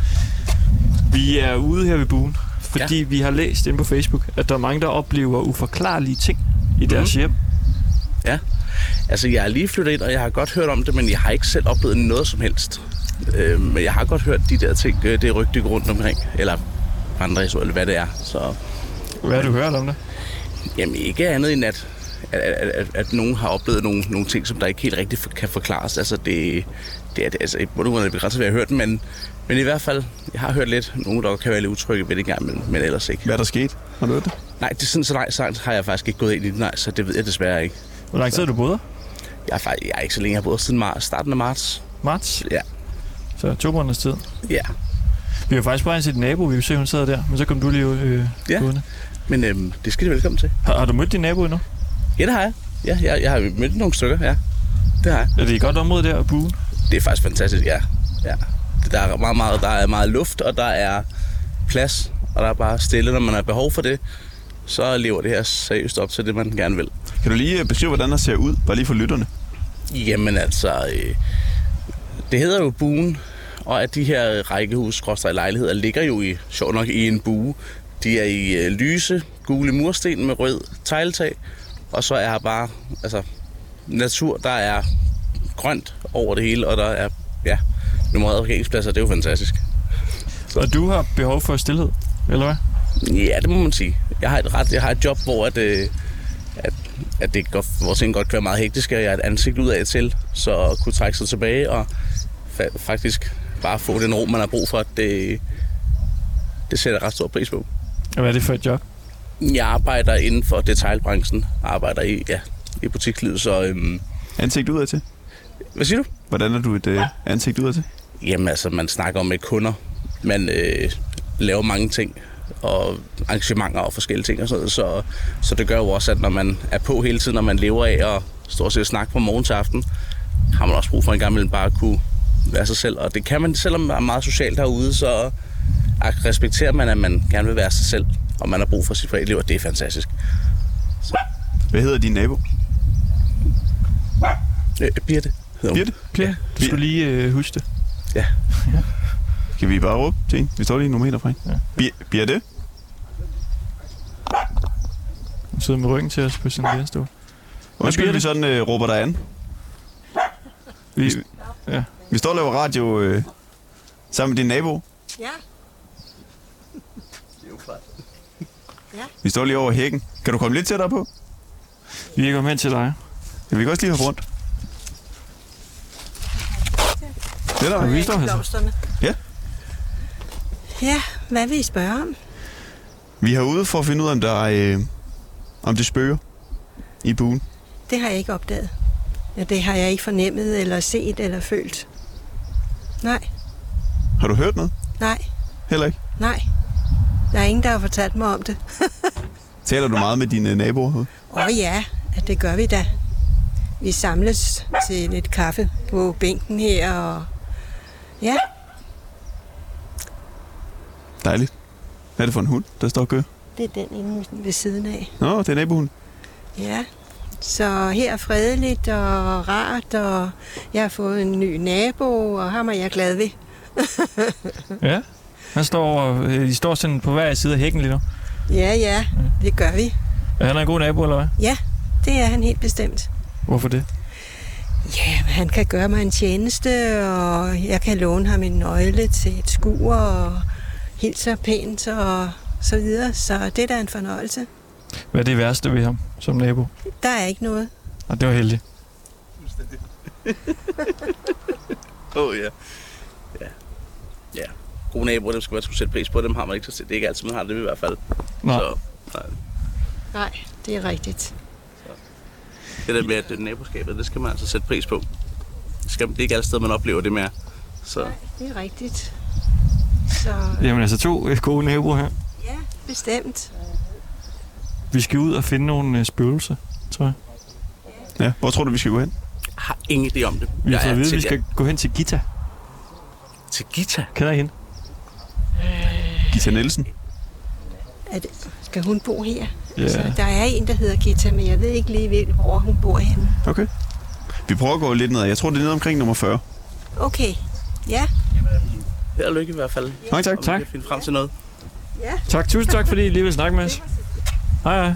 [SPEAKER 1] Vi er ude her ved buen, fordi vi har læst inde på Facebook, at der er mange, der oplever uforklarlige ting
[SPEAKER 7] Mhm.
[SPEAKER 1] i deres hjem.
[SPEAKER 7] Altså, jeg er lige flyttet ind, og jeg har godt hørt om det, men jeg har ikke selv oplevet noget som helst. Øh, men jeg har godt hørt de der ting, øh, det rygte rundt omkring, eller andre historier, eller hvad det er. Så
[SPEAKER 1] Hvad har du hørt om det?
[SPEAKER 7] jamen, ikke andet end, at, at, at, at, at nogen har oplevet nogle, nogle ting, som der ikke helt rigtigt for, kan forklares. Altså, det, det er det- altså, i bund og grund er det begrænset, hvad jeg har hørt, men, men i hvert fald, jeg har hørt lidt. Nogle, der kan være lidt utrygge ved det engang, men, men ellers ikke.
[SPEAKER 2] Hvad er der sket? Har du hørt det?
[SPEAKER 7] Nej, det er sådan så nej, så har jeg faktisk ikke gået ind i det, nej, så det ved jeg desværre ikke.
[SPEAKER 1] Hvor lang tid har du boet her?
[SPEAKER 7] Jeg er, faktisk, jeg er ikke så længe, jeg har boet siden marts, starten af marts.
[SPEAKER 1] Marts?
[SPEAKER 7] Ja.
[SPEAKER 1] Så to måneders tid.
[SPEAKER 7] Ja,
[SPEAKER 1] Vi har faktisk bare set nabo, vi kunne se, hun sad der. Men så kom du lige ud. Øh,
[SPEAKER 7] Ja.
[SPEAKER 1] gående.
[SPEAKER 7] men øhm, det skal de velkommen til.
[SPEAKER 1] Har, har, du mødt din nabo endnu?
[SPEAKER 7] Ja, det har jeg. Ja, jeg, jeg har mødt nogle stykker, ja. Det har jeg.
[SPEAKER 1] Er det et godt område der, buen?
[SPEAKER 7] Det er faktisk fantastisk, ja. ja. Der, er meget, meget, der er meget luft, og der er plads, og der er bare stille, når man har behov for det. Så lever det her seriøst op til det, man gerne vil.
[SPEAKER 2] Kan du lige øh, beskrive, hvordan der ser ud? Bare lige for lytterne.
[SPEAKER 7] Jamen altså, øh, det hedder jo buen, og at de her rækkehus skråstreg lejligheder ligger jo i, sjovt nok, i en bue. De er i øh, lyse, gule mursten med rød tegltag, og så er her bare altså, natur, der er grønt over det hele, og der er ja, nummerede parkeringspladser, det er jo fantastisk.
[SPEAKER 1] Og du har behov for stillhed, eller hvad?
[SPEAKER 7] Ja, det må man sige. Jeg har et, ret, jeg har et job, hvor at, øh, at, at det godt, hvor ting godt kan være meget hektisk, og jeg er et ansigt ud af til, så at kunne trække sig tilbage og fa- faktisk bare få den ro, man har brug for, det, det sætter jeg ret stor pris på.
[SPEAKER 1] Og hvad er det for et job?
[SPEAKER 7] Jeg arbejder inden for detailbranchen, arbejder i, ja, i butikslivet, så... Øhm,
[SPEAKER 2] Ansigt udad til.
[SPEAKER 7] hvad siger du?
[SPEAKER 2] Hvordan er du et øh, ansigt udad til?
[SPEAKER 7] Jamen altså, man snakker med kunder, man øh, laver mange ting og arrangementer og forskellige ting og sådan noget, så, så det gør jo også, at når man er på hele tiden, og man lever af og stort set snakke fra morgen til aften, har man også brug for en gang imellem bare at kunne være sig selv. Og det kan man, selvom man er meget socialt herude, så respekterer man, at man gerne vil være sig selv og man har brug for sit privatliv, og det er fantastisk.
[SPEAKER 2] Hvad hedder din nabo?
[SPEAKER 7] Øh, Birte hedder hun.
[SPEAKER 2] Birte?
[SPEAKER 1] Ja, du skulle lige øh, huske det.
[SPEAKER 2] Kan vi bare råbe til hende? Vi står lige nogle meter fra hende. Ja. Bir- Birte?
[SPEAKER 1] Hun sidder med ryggen til os på sin lærestol.
[SPEAKER 2] Undskyld,
[SPEAKER 1] Birte?
[SPEAKER 2] vi sådan øh, råber dig an.
[SPEAKER 1] Vi,
[SPEAKER 2] Vi står og laver radio øh, sammen med din nabo.
[SPEAKER 3] Ja,
[SPEAKER 2] Vi står lige over hækken. Kan du komme lidt tættere på?
[SPEAKER 1] vi er kommet hen til dig.
[SPEAKER 2] Ja, vi kan også lige hoppe rundt. Det er der.
[SPEAKER 1] Og vi står her så.
[SPEAKER 8] blomsterne.
[SPEAKER 2] Ja.
[SPEAKER 8] Ja, hvad vil I spørge om?
[SPEAKER 2] Vi er herude for at finde ud af, om, der er, øh, om det spøger i buen.
[SPEAKER 8] Det har jeg ikke opdaget. Ja, det har jeg ikke fornemmet, eller set, eller følt. Nej,
[SPEAKER 2] Har du hørt noget?
[SPEAKER 8] nej,
[SPEAKER 2] Heller ikke.
[SPEAKER 8] nej. Der er ingen, der har fortalt mig om det.
[SPEAKER 2] Taler du meget med dine øh, naboer herude?
[SPEAKER 8] Åh ja, at det gør vi da. Vi samles til lidt kaffe på bænken her, og ja,
[SPEAKER 2] Dejligt. Hvad er det for en hund, der står og kører?
[SPEAKER 8] det er den inde ved siden af.
[SPEAKER 2] Nå, det er nabohunden.
[SPEAKER 8] Ja, så her er fredeligt og rart, og jeg har fået en ny nabo, og ham er jeg glad ved.
[SPEAKER 1] Ja. Han står over, øh, de står sådan på hver side af hækken lige nu.
[SPEAKER 8] Ja, ja, det gør vi.
[SPEAKER 1] Er han en god nabo, eller hvad?
[SPEAKER 8] Ja, det er han helt bestemt.
[SPEAKER 1] Hvorfor det?
[SPEAKER 8] Ja, men han kan gøre mig en tjeneste, og jeg kan låne ham en nøgle til et skur, og hilser pænt, og så videre. Så det er da en fornøjelse.
[SPEAKER 1] Hvad er det værste ved ham som nabo?
[SPEAKER 8] Der er ikke noget.
[SPEAKER 1] Og det var heldigt.
[SPEAKER 7] Åh, oh, ja. Ja. Ja. Gode naboer, dem skal man sgu sætte pris på. Dem har man ikke så sæt. Det er ikke altid, man har dem i hvert fald.
[SPEAKER 1] Nå,
[SPEAKER 7] Så
[SPEAKER 8] Nej, det er rigtigt.
[SPEAKER 7] det der med at det naboskabet, det skal man altså sætte pris på. Det, skal, det er ikke alle steder, man oplever det mere. Så
[SPEAKER 8] Det er rigtigt. Så
[SPEAKER 1] jamen altså to øh, gode naboer her.
[SPEAKER 8] ja, bestemt.
[SPEAKER 1] Vi skal ud og finde nogle øh, spøgelser, tror jeg.
[SPEAKER 2] Ja. Hvor tror du, vi skal gå hen?
[SPEAKER 7] jeg har ingen idé om det.
[SPEAKER 1] Vi har fået at vide, at
[SPEAKER 7] til,
[SPEAKER 1] vi skal gå hen til Gita.
[SPEAKER 7] til Gita.
[SPEAKER 1] Kender I hende?
[SPEAKER 2] Gita Nielsen.
[SPEAKER 8] Er det, skal hun bo her?
[SPEAKER 1] Ja.
[SPEAKER 8] Så der er en, der hedder Gita, men jeg ved ikke lige, hvil- hvor hun bor henne.
[SPEAKER 2] Okay. Vi prøver at gå lidt ned. Jeg tror, det er nede omkring nummer 40.
[SPEAKER 8] Okay, ja.
[SPEAKER 7] Held og lykke i hvert fald.
[SPEAKER 2] Mange tak.
[SPEAKER 7] Om
[SPEAKER 1] Tak.
[SPEAKER 7] Vi kan finde frem til noget.
[SPEAKER 1] Tak, tusind tak, fordi I lige vil snakke med os. Hej, hej.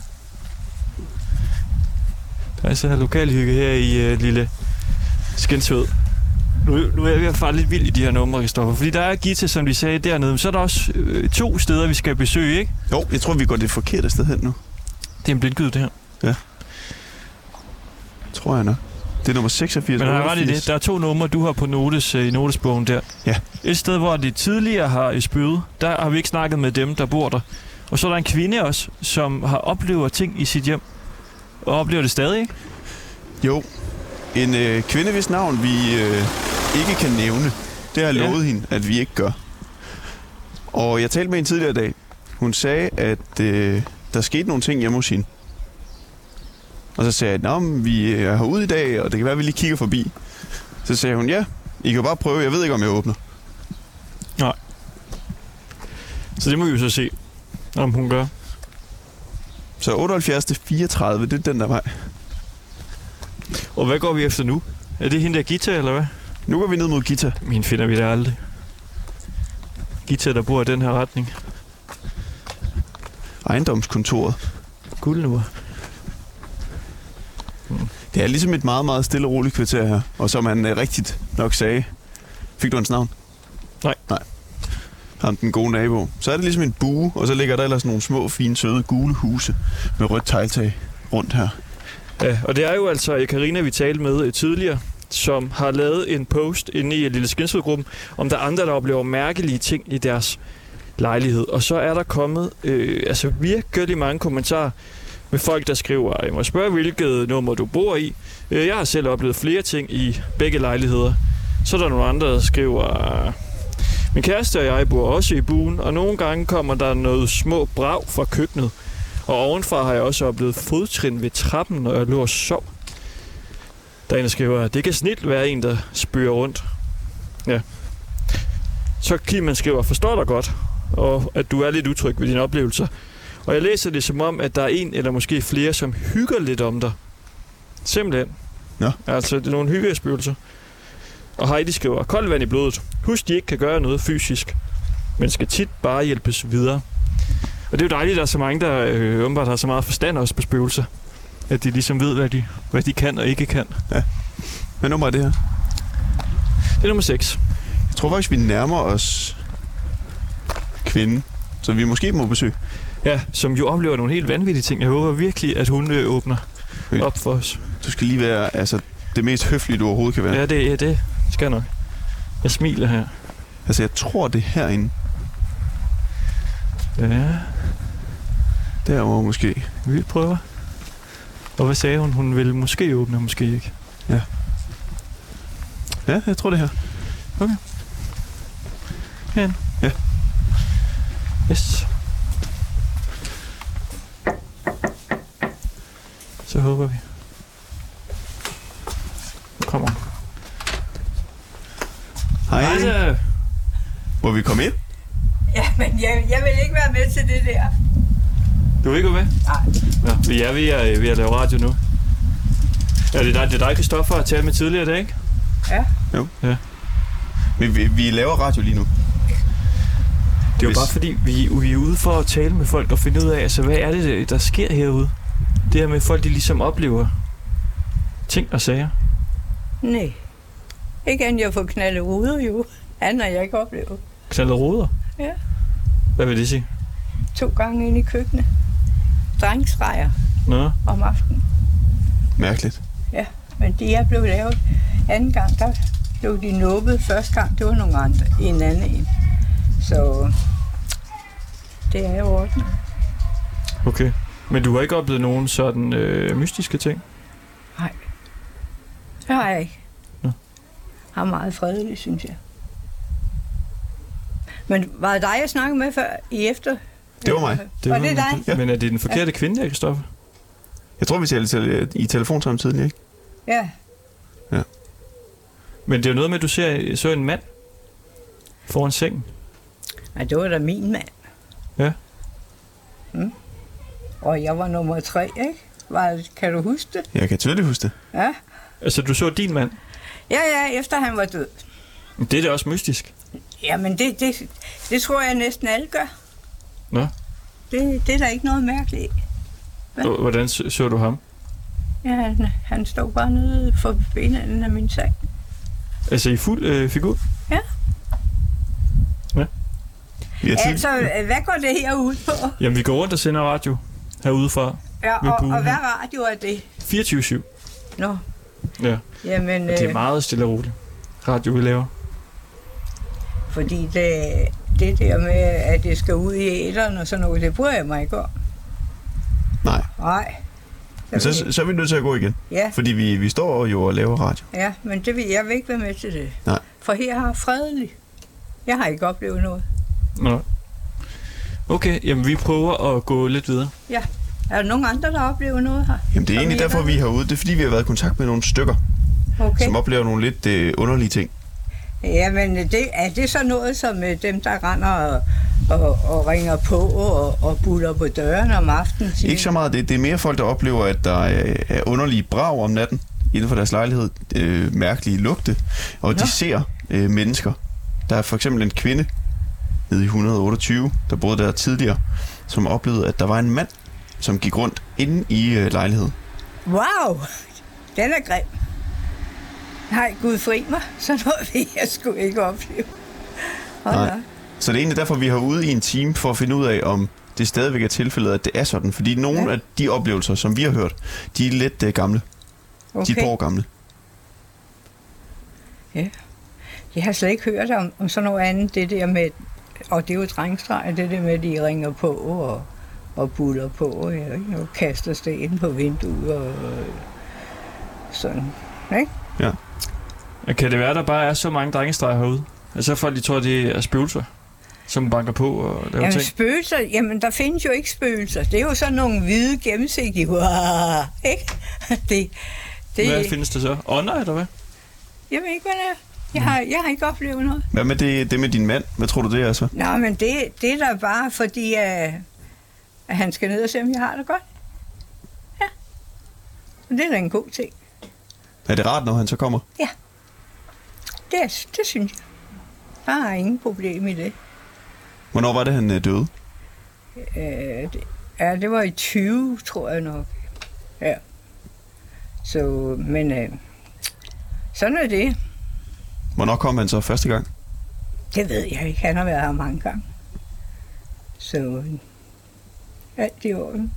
[SPEAKER 1] Der er så lokalhygge her i øh, lille Skensved. Nu, nu er jeg ved at fare lidt vild i de her numre, Kristoffer. Fordi der er Gita, som vi sagde dernede, men så er der også øh, to steder, vi skal besøge, ikke?
[SPEAKER 2] Jo, jeg tror, vi går det forkerte sted hen nu.
[SPEAKER 1] Det er en blindgyde, det her.
[SPEAKER 2] Tror jeg nok. Det er nummer 86.
[SPEAKER 1] Men har jeg ret i
[SPEAKER 2] 88.
[SPEAKER 1] det? Der er to numre, du har på notes, øh, i notesbogen der.
[SPEAKER 2] Ja.
[SPEAKER 1] Et sted, hvor de tidligere har øh, spøget, der har vi ikke snakket med dem, der bor der. Og så er der en kvinde også, som har oplevet ting i sit hjem. Og oplever det stadig, ikke?
[SPEAKER 2] Jo. En øh, kvinde, hvis navn vi øh, ikke kan nævne. Det har jeg
[SPEAKER 1] Ja.
[SPEAKER 2] lovet hende, at vi ikke gør. Og jeg talte med hende tidligere i dag. Hun sagde, at øh, der skete nogle ting hjemme hos hende. Og så sagde jeg, at vi er herude i dag, og det kan være, at vi lige kigger forbi. Så sagde hun, ja, I kan jo bare prøve. Jeg ved ikke, om jeg åbner.
[SPEAKER 1] Så det må vi jo så se, om hun gør.
[SPEAKER 2] Så 78 til 34, det er den der vej.
[SPEAKER 1] Og hvad går vi efter nu? Er det hende der Gita, eller hvad?
[SPEAKER 2] Nu går vi ned mod Gita.
[SPEAKER 1] Min finder vi da aldrig. Gita, der bor i den her retning.
[SPEAKER 2] Ejendomskontoret.
[SPEAKER 1] Guldnur.
[SPEAKER 2] Det er ligesom et meget, meget stille og roligt kvarter her. Og som han øh, rigtigt nok sagde, fik du hans navn?
[SPEAKER 1] Nej.
[SPEAKER 2] Nej. Ham den gode nabo. Så er det ligesom en bue, og så ligger der ellers nogle små, fine, søde, gule huse med rødt tegltag rundt her.
[SPEAKER 1] Ja, og det er jo altså Karina, vi talte med øh, tidligere, som har lavet en post inde i øh, Lille Skinsvedgruppen, om der er andre, der oplever mærkelige ting i deres lejlighed. Og så er der kommet øh, altså virkelig mange kommentarer med folk, der skriver, jeg må spørge, hvilket nummer du bor i. Øh, Jeg har selv oplevet flere ting i begge lejligheder. Så er der nogle andre, der skriver, min kæreste og jeg bor også i buen, og nogle gange kommer der noget små brag fra køkkenet. Og ovenfra har jeg også oplevet fodtrin ved trappen, når jeg lå og sov. Der er en, der skriver, det kan snilt være en, der spyrer rundt. Ja. Så Kim han skriver, forstår dig godt, og at du er lidt utryg ved dine oplevelser. Og jeg læser det som om, at der er en eller måske flere, som hygger lidt om dig. Simpelthen.
[SPEAKER 2] Nå.
[SPEAKER 1] Altså, det er nogle hyggespøgelser. Og Heidi skriver, kold vand i blodet. Husk, de ikke kan gøre noget fysisk, men skal tit bare hjælpes videre. Og det er jo dejligt, at der er så mange, der øh, åbenbart har så meget forstand også på spøgelser. At de ligesom ved, hvad de, hvad de kan og ikke kan.
[SPEAKER 2] Hvad nummer er det her?
[SPEAKER 1] Det er nummer 6.
[SPEAKER 2] Jeg tror faktisk, vi nærmer os kvinden, som vi måske må besøge.
[SPEAKER 1] Ja, som jo oplever nogle helt vanvittige ting. Jeg håber virkelig, at hun øh, åbner
[SPEAKER 2] Ja.
[SPEAKER 1] op for os.
[SPEAKER 2] Du skal lige være altså, det mest høflige, du overhovedet kan være.
[SPEAKER 1] Ja, det, ja, det skal jeg nok. Jeg smiler her.
[SPEAKER 2] Altså, jeg tror, det er herinde.
[SPEAKER 1] Ja,
[SPEAKER 2] Derovre måske.
[SPEAKER 1] vi prøver. Og hvad sagde hun? Hun ville måske åbne, og måske ikke.
[SPEAKER 2] Ja, jeg tror det er her.
[SPEAKER 1] Yes. Så håber vi. Nu kommer hun.
[SPEAKER 2] Hej.
[SPEAKER 1] Hej.
[SPEAKER 2] Må vi komme ind?
[SPEAKER 9] Ja, men jeg, jeg vil ikke være med til det der.
[SPEAKER 1] Du vil ikke gå med?
[SPEAKER 9] Nej.
[SPEAKER 1] Nå, vi er ved at, øh, ved at lave radio nu. Ja, det er dig, det er dig Christoffer, at tale med tidligere i dag, ikke?
[SPEAKER 2] Vi, vi, vi laver radio lige nu.
[SPEAKER 1] Det er jo
[SPEAKER 2] Hvis-
[SPEAKER 1] bare fordi, vi, vi er ude for at tale med folk og finde ud af, altså hvad er det, der sker herude? Det her med folk, de ligesom oplever ting og sager.
[SPEAKER 9] Nej. Ikke end jeg får knaldet ruder jo. Andet har jeg ikke oplevet.
[SPEAKER 1] Knaldet ruder.
[SPEAKER 9] Ja.
[SPEAKER 1] Hvad vil det sige?
[SPEAKER 9] To gange ind i køkkenet. Drengsrejer
[SPEAKER 1] Nå,
[SPEAKER 9] om aftenen.
[SPEAKER 2] Mærkeligt.
[SPEAKER 9] Men det er blevet lavet anden gang, der blev de nubbet. Første gang, det var nogle andre, en anden en. Så det er jo orden.
[SPEAKER 1] okay. Men du har ikke oplevet nogen sådan øh, mystiske ting?
[SPEAKER 9] Nej. Det har jeg ikke.
[SPEAKER 1] Nå.
[SPEAKER 9] Jeg er meget fredelig, synes jeg. Men var det dig, jeg snakkede med før i efter?
[SPEAKER 2] Det var mig.
[SPEAKER 9] var det dig?
[SPEAKER 1] Ja. Men er det den forkerte kvinde, der Christoffer?
[SPEAKER 2] Jeg tror, vi talte til, i telefon samtidig, ikke?
[SPEAKER 9] Ja.
[SPEAKER 1] Men det er jo noget med, at du ser, så en mand foran sengen.
[SPEAKER 9] Nej, det var da min mand.
[SPEAKER 1] Ja.
[SPEAKER 9] Mm. Og jeg var nummer tre, ikke? Var, kan du huske det?
[SPEAKER 2] Jeg kan tydeligt huske det.
[SPEAKER 9] Ja.
[SPEAKER 1] Altså, du så din mand.
[SPEAKER 9] ja, ja, efter han var død.
[SPEAKER 1] Men Det er da også mystisk.
[SPEAKER 9] Jamen, det, det, det tror jeg næsten alle gør.
[SPEAKER 1] Nå.
[SPEAKER 9] Det, det er der ikke noget mærkeligt. i. Hvad?
[SPEAKER 1] H- Hvordan så, så du ham?
[SPEAKER 9] Ja, han, han stod bare nede for benene af min sag.
[SPEAKER 1] Altså i fuld øh, figur?
[SPEAKER 2] Vi har tid.
[SPEAKER 9] Altså, hvad går det her ud på?
[SPEAKER 1] Jamen, vi går rundt og sender radio herudefra.
[SPEAKER 9] Ja,
[SPEAKER 1] Med
[SPEAKER 9] og, og
[SPEAKER 1] buen.
[SPEAKER 9] hvad radio er det?
[SPEAKER 1] 24-7.
[SPEAKER 9] Nå.
[SPEAKER 1] Ja.
[SPEAKER 9] Jamen,
[SPEAKER 1] Det er
[SPEAKER 9] øh,
[SPEAKER 1] meget stille og roligt. Radio, vi laver.
[SPEAKER 9] fordi det, det der med, at det skal ud i æderen og sådan noget, det bryder jeg mig ikke om.
[SPEAKER 2] Nej.
[SPEAKER 9] Nej.
[SPEAKER 2] Men så, så er vi nødt til at gå igen.
[SPEAKER 9] Ja,
[SPEAKER 2] Fordi vi, vi står jo og laver radio.
[SPEAKER 9] ja, men det vil, jeg vil ikke være med til det.
[SPEAKER 2] Nej.
[SPEAKER 9] For her har fredelig. Jeg har ikke oplevet noget.
[SPEAKER 1] Nå. Okay, jamen vi prøver at gå lidt videre.
[SPEAKER 9] Er der nogen andre, der oplever noget her?
[SPEAKER 2] Jamen, det er
[SPEAKER 9] Kom
[SPEAKER 2] egentlig
[SPEAKER 9] her.
[SPEAKER 2] derfor, vi er herude. Det er fordi, vi har været i kontakt med nogle stykker, okay.
[SPEAKER 9] Okay.
[SPEAKER 2] som oplever nogle lidt øh, underlige ting.
[SPEAKER 9] Jamen, det, er det så noget som øh, dem, der render og, og, og ringer på og, og buller på døren om aftenen? siger-
[SPEAKER 2] Ikke så meget det. Det er mere folk, der oplever, at der øh, er underlige brag om natten inden for deres lejlighed. Øh, mærkelige lugte. Og de ser øh, mennesker. Der er for eksempel en kvinde nede i 128, der boede der tidligere, som oplevede, at der var en mand, som gik rundt inde i øh, lejligheden.
[SPEAKER 9] Wow, den er grim. Nej, Gud fri mig. Sådan noget vil jeg sgu ikke opleve. Hold
[SPEAKER 2] Nej.
[SPEAKER 9] da op.
[SPEAKER 2] Så det er egentlig derfor, vi har ude i en time for at finde ud af, om det stadigvæk er tilfældet, at det er sådan. Fordi nogle
[SPEAKER 9] Ja.
[SPEAKER 2] af de oplevelser, som vi har hørt, de er lidt øh, gamle. De er et par
[SPEAKER 9] Okay.
[SPEAKER 2] år gamle.
[SPEAKER 9] Jeg har slet ikke hørt om, om sådan noget andet, det der med, og det er jo drengstreger, det der med, at de ringer på og, og buller på, og, ikke? og kaster sten på vinduet og øh, sådan.
[SPEAKER 1] Og Kan det være, der bare er så mange drengestreger herude? Altså folk, de tror, det er spøgelser, som banker på og laver
[SPEAKER 9] Jamen
[SPEAKER 1] ting.
[SPEAKER 9] spøgelser, jamen der findes jo ikke spøgelser. Det er jo sådan nogle hvide gennemsigtige, wow, ikke? Det, det,
[SPEAKER 1] Hvad findes der så? Ånder, eller hvad?
[SPEAKER 9] jeg ved ikke, hvad det er. Jeg har, jeg har ikke oplevet noget.
[SPEAKER 2] Hvad altså? med det, det med din mand? Hvad tror du, det er så?
[SPEAKER 9] Nå, men det, det er da bare fordi, at, øh, at han skal ned og se, om jeg har det godt. Ja. Og det er da en god ting.
[SPEAKER 2] Er det rart, når han så kommer?
[SPEAKER 9] Det, er- det synes jeg. Der er ingen problem i det.
[SPEAKER 2] Hvornår var det, han øh, døde?
[SPEAKER 9] Øh, det, ja, det var i 20, tror jeg nok. Ja. Så, men øh, sådan er det.
[SPEAKER 2] Hvornår kom han så første gang?
[SPEAKER 9] Det ved jeg ikke. Han har været her mange gange. Så øh, alt i orden.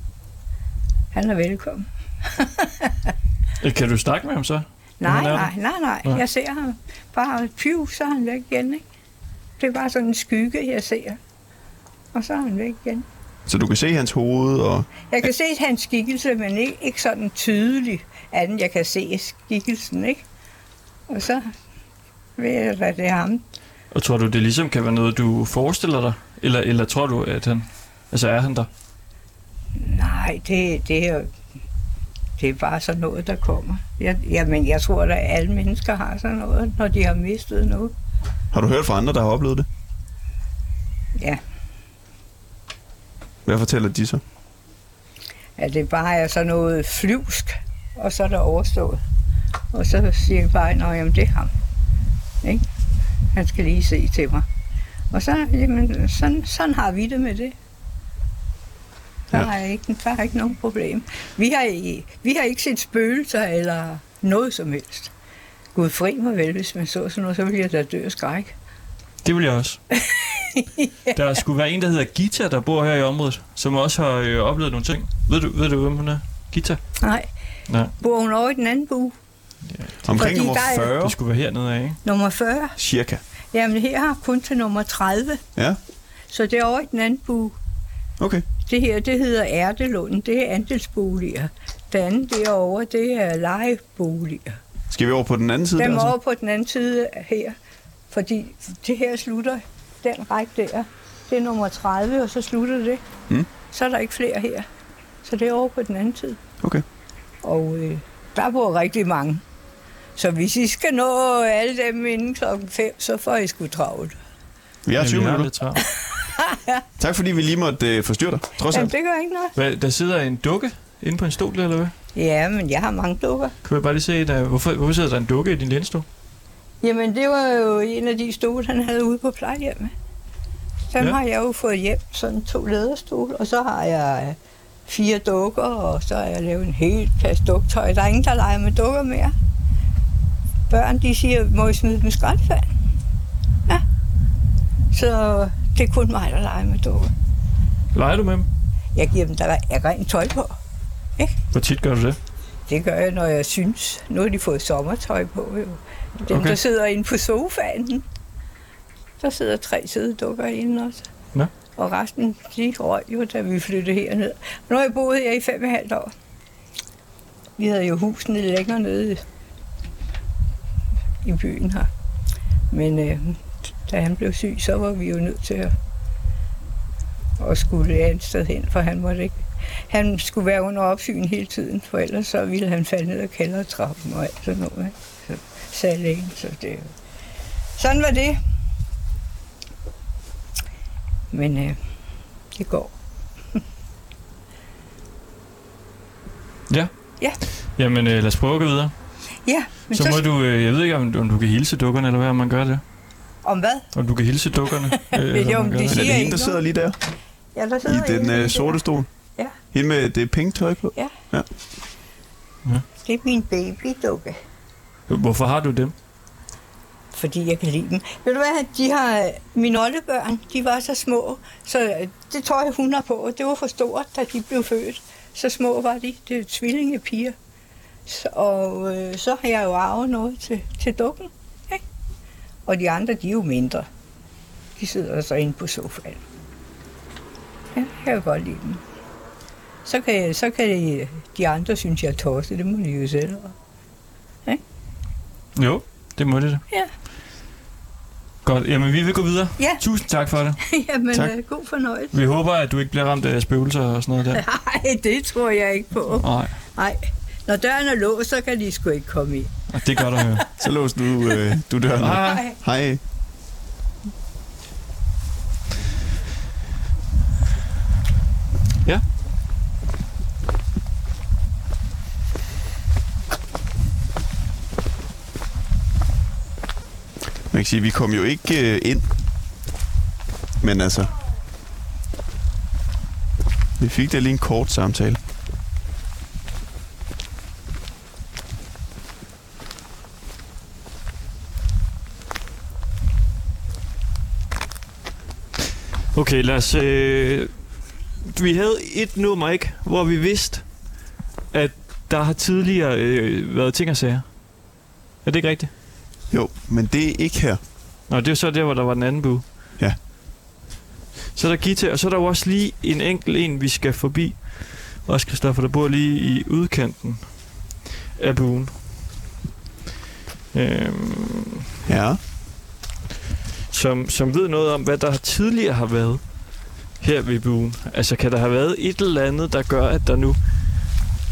[SPEAKER 9] Han er velkommen.
[SPEAKER 1] Øh, Kan du snakke med ham så? Når
[SPEAKER 9] Nej,
[SPEAKER 1] han er der?
[SPEAKER 9] nej, nej, nej,
[SPEAKER 1] Nej.
[SPEAKER 9] Jeg ser ham bare piv, så er han væk igen, ikke? Det er bare sådan en skygge, jeg ser. Og så er han væk igen.
[SPEAKER 2] Så du kan se hans hoved, og
[SPEAKER 9] Jeg kan se hans skikkelse, men ikke, ikke sådan tydelig anden. Jeg kan se skikkelsen, ikke? Og så ved jeg, hvad det er ham.
[SPEAKER 1] Og tror du, det ligesom kan være noget, du forestiller dig? Eller, eller tror du, at han... Altså, er han der?
[SPEAKER 9] Nej, det, det, er, det er bare sådan noget, der kommer. Jeg, jamen, jeg tror, at alle mennesker har sådan noget, når de har mistet noget.
[SPEAKER 2] har du hørt fra andre, der har oplevet det?
[SPEAKER 9] Ja.
[SPEAKER 2] Hvad fortæller de så?
[SPEAKER 9] At det bare er sådan noget flyvsk, og så er der overstået. Og så siger jeg bare, at jamen, det er ham. Ikke? Han skal lige se til mig. Og så, jamen, sådan, sådan har vi det med det. Der,
[SPEAKER 2] Ja.
[SPEAKER 9] ja. er, ikke, der er ikke nogen problem. Vi har, i- vi har ikke set spøgelser eller noget som helst. Gud fri mig vel, hvis man så sådan noget, så ville jeg da dø af skræk.
[SPEAKER 1] Det vil jeg også. Der skulle være en, der hedder Gita, der bor her i området, som også har øh, oplevet nogle ting. Ved du, ved du hvem hun er? Gita?
[SPEAKER 9] Nej.
[SPEAKER 1] Nej.
[SPEAKER 9] Bor hun over i den anden bue?
[SPEAKER 2] Omkring
[SPEAKER 9] Fordi
[SPEAKER 2] nummer
[SPEAKER 9] der er-
[SPEAKER 2] 40,
[SPEAKER 1] Det skulle være hernede af, ikke?
[SPEAKER 9] Nummer 40?
[SPEAKER 2] cirka.
[SPEAKER 9] Jamen her har kun til nummer 30,
[SPEAKER 2] Ja,
[SPEAKER 9] så det er over i den anden bue.
[SPEAKER 2] okay.
[SPEAKER 9] Det her, det hedder Ærtelunden, det er andelsboliger. Det andet derovre, det er lejeboliger.
[SPEAKER 2] Skal vi over på den anden side?
[SPEAKER 9] Dem
[SPEAKER 2] der, altså. så?
[SPEAKER 9] over på den anden side her, fordi det her slutter, den række der, det er nummer 30, og så slutter det.
[SPEAKER 2] Mm.
[SPEAKER 9] Så er der ikke flere her. Så det er over på den anden side.
[SPEAKER 2] Okay.
[SPEAKER 9] Og øh, der bor rigtig mange. Så hvis I skal nå alle dem inden klokken 5, så får I sgu travlt.
[SPEAKER 2] Vi er
[SPEAKER 1] Ja,
[SPEAKER 2] 20
[SPEAKER 1] vi har
[SPEAKER 2] minutter.
[SPEAKER 1] lidt travlt.
[SPEAKER 2] Tak fordi vi lige måtte øh, forstyrre dig, trods
[SPEAKER 9] Jamen,
[SPEAKER 2] alt.
[SPEAKER 9] det gør ikke noget.
[SPEAKER 1] Hvad, der sidder en dukke inde på en stol, eller hvad?
[SPEAKER 9] Ja, men jeg har mange dukker.
[SPEAKER 1] Kan jeg bare lige se, der, hvorfor, hvorfor sidder der en dukke i din lænestol?
[SPEAKER 9] Jamen, det var jo en af de stole, han havde ude på plejehjemmet. Den
[SPEAKER 1] Ja.
[SPEAKER 9] ja. har jeg jo fået hjem, sådan to læderstole, og så har jeg øh, fire dukker, og så har jeg lavet en hel kasse duktøj. Der er ingen, der leger med dukker mere. Børn, de siger, må I smide dem i skraldespanden? Ja. Så det er kun mig, der leger med dukker.
[SPEAKER 1] Leger du med dem?
[SPEAKER 9] Jeg giver dem, der er rent tøj på.
[SPEAKER 1] Hvor tit gør du det?
[SPEAKER 9] Det gør jeg, når jeg synes. Nu har de fået sommertøj på, jo. Dem,
[SPEAKER 1] Okay.
[SPEAKER 9] okay. der sidder inde på sofaen, der sidder tre sidedukker inde også.
[SPEAKER 1] Nå.
[SPEAKER 9] Og resten, de røg jo, da vi flyttede herned. Nu har jeg boet her i fem og et halvt år. Vi havde jo husene længere nede i byen her. Men øh, da han blev syg, så var vi jo nødt til at, at skulle et andet sted hen, for han måtte ikke han skulle være under opsyn hele tiden, for ellers så ville han falde ned af kældertrappen og alt sådan noget. ikke? Så sagde lægen, så det... Sådan var det. Men øh, det går.
[SPEAKER 1] Jamen, øh, lad os prøve at gå videre.
[SPEAKER 9] Ja, men
[SPEAKER 1] så
[SPEAKER 9] så,
[SPEAKER 1] må du, øh, jeg ved ikke, om, du- om du kan hilse dukkerne, eller hvad, om man gør det.
[SPEAKER 9] om hvad?
[SPEAKER 1] Om du kan hilse dukkerne. øh, eller
[SPEAKER 9] jo,
[SPEAKER 1] om man
[SPEAKER 2] Men
[SPEAKER 1] gør
[SPEAKER 9] men de
[SPEAKER 2] er det
[SPEAKER 1] det.
[SPEAKER 9] siger
[SPEAKER 2] hende, der
[SPEAKER 9] ikke
[SPEAKER 2] sidder lige der?
[SPEAKER 9] Ja, der
[SPEAKER 2] I
[SPEAKER 9] sidder en
[SPEAKER 2] den
[SPEAKER 9] lige
[SPEAKER 2] øh,
[SPEAKER 9] der.
[SPEAKER 2] sorte stol?
[SPEAKER 9] Ja.
[SPEAKER 2] Hende med det pink tøj på?
[SPEAKER 9] Det er min babydukke,
[SPEAKER 1] Hvorfor har du dem?
[SPEAKER 9] fordi jeg kan lide dem. Ved du hvad, de har, mine oldebørn, de var så små, så øh, det tøj, hun har på, det var for stort, da de blev født. Så små var de, det er tvillingepiger. Så- Og øh, så har jeg jo arvet noget til, til dukken. Ikke? Og de andre, de er jo mindre. De sidder så inde på sofaen. Ja, jeg kan godt lide dem. Så kan, jeg- så kan de, de andre synes, jeg er tosset. Det må de jo selv. om.
[SPEAKER 1] Jo, det må det da.
[SPEAKER 9] Ja.
[SPEAKER 1] Godt, jamen vi vil gå videre.
[SPEAKER 9] Ja.
[SPEAKER 1] Tusind tak for det.
[SPEAKER 9] Jamen,
[SPEAKER 2] Tak.
[SPEAKER 9] øh, god fornøjelse.
[SPEAKER 1] Vi håber, at du ikke bliver ramt af spøgelser og sådan noget der.
[SPEAKER 9] Nej, det tror jeg ikke på.
[SPEAKER 1] Nej,
[SPEAKER 9] Nej. Når døren er låst, så kan de sgu ikke komme ind.
[SPEAKER 1] og det gør der jo.
[SPEAKER 2] Så låser du, øh, du døren. op.
[SPEAKER 1] Ah,
[SPEAKER 9] Nej.
[SPEAKER 2] Hej.
[SPEAKER 1] Ja.
[SPEAKER 2] Man kan sige, vi kom jo ikke øh, ind, men altså... Vi fik da lige en kort samtale.
[SPEAKER 1] Okay, lad os... Øh, vi havde et nummer, ikke? Hvor vi vidste, at der har tidligere øh, været ting og sager. Er det ikke rigtigt?
[SPEAKER 2] Jo, men det er ikke her.
[SPEAKER 1] Nå, det er jo så der, hvor der var den anden bue.
[SPEAKER 2] Ja.
[SPEAKER 1] Så er der Gita, og så er der jo også lige en enkelt en, vi skal forbi. Også Christoffer, der bor lige i udkanten af buen. Øhm,
[SPEAKER 2] Ja.
[SPEAKER 1] som, som ved noget om, hvad der tidligere har været her ved buen. Altså, kan der have været et eller andet, der gør, at der nu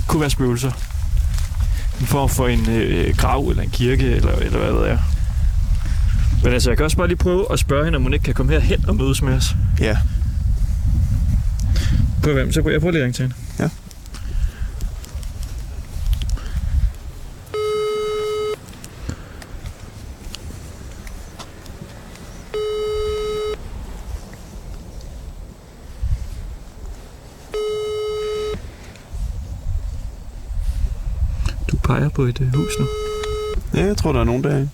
[SPEAKER 1] kunne være spøgelser? En form for en øh, grav, eller en kirke, eller, eller hvad ved jeg. Men altså, jeg kan også bare lige prøve at spørge hende, om hun ikke kan komme herhen og mødes med os.
[SPEAKER 2] Ja.
[SPEAKER 1] Prøv hvem? Så prøver jeg prøver lige at ringe til hende.
[SPEAKER 2] Ja.
[SPEAKER 1] Du peger på et øh, hus nu.
[SPEAKER 2] Ja, jeg tror, der er nogen derinde.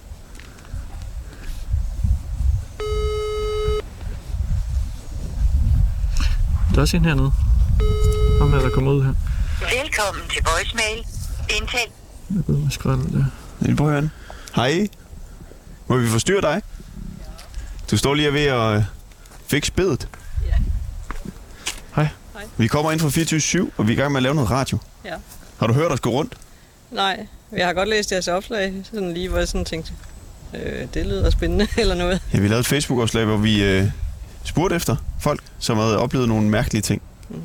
[SPEAKER 1] Der er også en hernede. Ham her, der kommer ud her.
[SPEAKER 10] Velkommen til voicemail. Indtal.
[SPEAKER 1] Jeg ved, man skal der.
[SPEAKER 2] Inde på høren. Hej. Må vi forstyrre dig? Du står lige ved at øh, fikse bedet.
[SPEAKER 1] Hej.
[SPEAKER 2] Vi kommer ind fra 24 og vi er i gang med at lave noget radio.
[SPEAKER 11] Ja.
[SPEAKER 2] Har du hørt os gå rundt?
[SPEAKER 11] Nej, jeg har godt læst jeres opslag, sådan lige hvor jeg sådan tænkte, øh, det lyder spændende eller noget.
[SPEAKER 2] Ja, vi lavede et Facebook-opslag, hvor vi øh, spurgte efter folk, som havde oplevet nogle mærkelige ting.
[SPEAKER 11] Mm.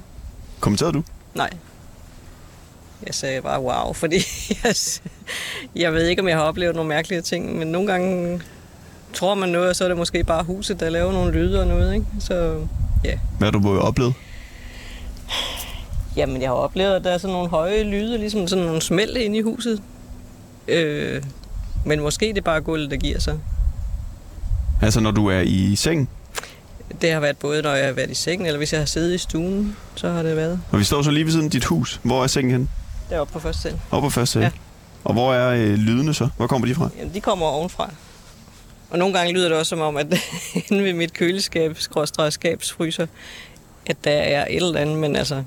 [SPEAKER 2] Kommenterede du?
[SPEAKER 11] Nej. Jeg sagde bare wow, fordi jeg, s- jeg ved ikke, om jeg har oplevet nogle mærkelige ting, men nogle gange tror man noget, og så er det måske bare huset, der laver nogle lyde og noget, ikke? Så ja.
[SPEAKER 2] Hvad har du både oplevet?
[SPEAKER 11] Jamen, jeg har oplevet, at der er sådan nogle høje lyde, ligesom sådan nogle smæld inde i huset. Øh, men måske det er bare gulvet, der giver sig.
[SPEAKER 2] Altså, når du er i seng,
[SPEAKER 11] Det har været både, når jeg har været i sengen, eller hvis jeg har siddet i stuen, så har det været
[SPEAKER 2] og vi står så lige ved siden af dit hus. Hvor er sengen henne?
[SPEAKER 11] deroppe på første sal.
[SPEAKER 2] Oppe på første sal.
[SPEAKER 11] Ja.
[SPEAKER 2] Og hvor er øh, lydene så? Hvor kommer de fra?
[SPEAKER 11] Jamen, de kommer ovenfra. Og nogle gange lyder det også som om, at inde ved mit køleskab, skråstrej skabsfryser, at der er et eller andet, men altså,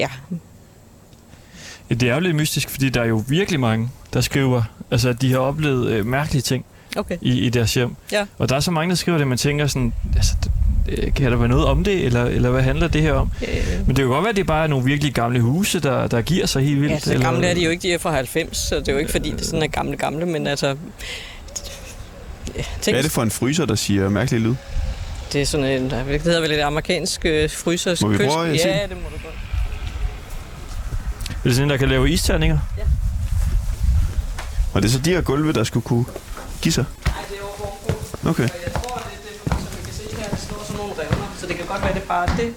[SPEAKER 11] ja,
[SPEAKER 1] Ja, det er jo lidt mystisk, fordi der er jo virkelig mange, der skriver, altså, at de har oplevet øh, mærkelige ting
[SPEAKER 11] okay.
[SPEAKER 1] i, i deres hjem.
[SPEAKER 11] Ja.
[SPEAKER 1] Og der er så mange, der skriver det, man tænker sådan, altså, d- øh, kan der være noget om det, eller, eller hvad handler det her om?
[SPEAKER 11] Øh,
[SPEAKER 1] Men det kan godt være, at det bare er nogle virkelig gamle huse, der, der giver sig helt vildt.
[SPEAKER 11] ja, så
[SPEAKER 1] eller-
[SPEAKER 11] gamle er de jo ikke, de er fra 90, så det er jo ikke, fordi det sådan er gamle, gamle, men altså... Ja,
[SPEAKER 2] Hvad
[SPEAKER 11] tænk,
[SPEAKER 2] er det for en fryser, der siger mærkelige lyd?
[SPEAKER 11] det er sådan en, det hedder vel et amerikansk øh, frysers
[SPEAKER 2] Må vi
[SPEAKER 11] kyst-
[SPEAKER 2] prøve at se?
[SPEAKER 11] Ja, det må du godt.
[SPEAKER 1] Er det sådan en, der kan lave isterninger?
[SPEAKER 2] Og det er så de her gulve, der skulle kunne give sig?
[SPEAKER 11] Nej, det er overhovedet
[SPEAKER 2] Okay.
[SPEAKER 11] Jeg tror, det er det, som vi kan se her, der står sådan nogle revner, så det kan godt være, det er bare det,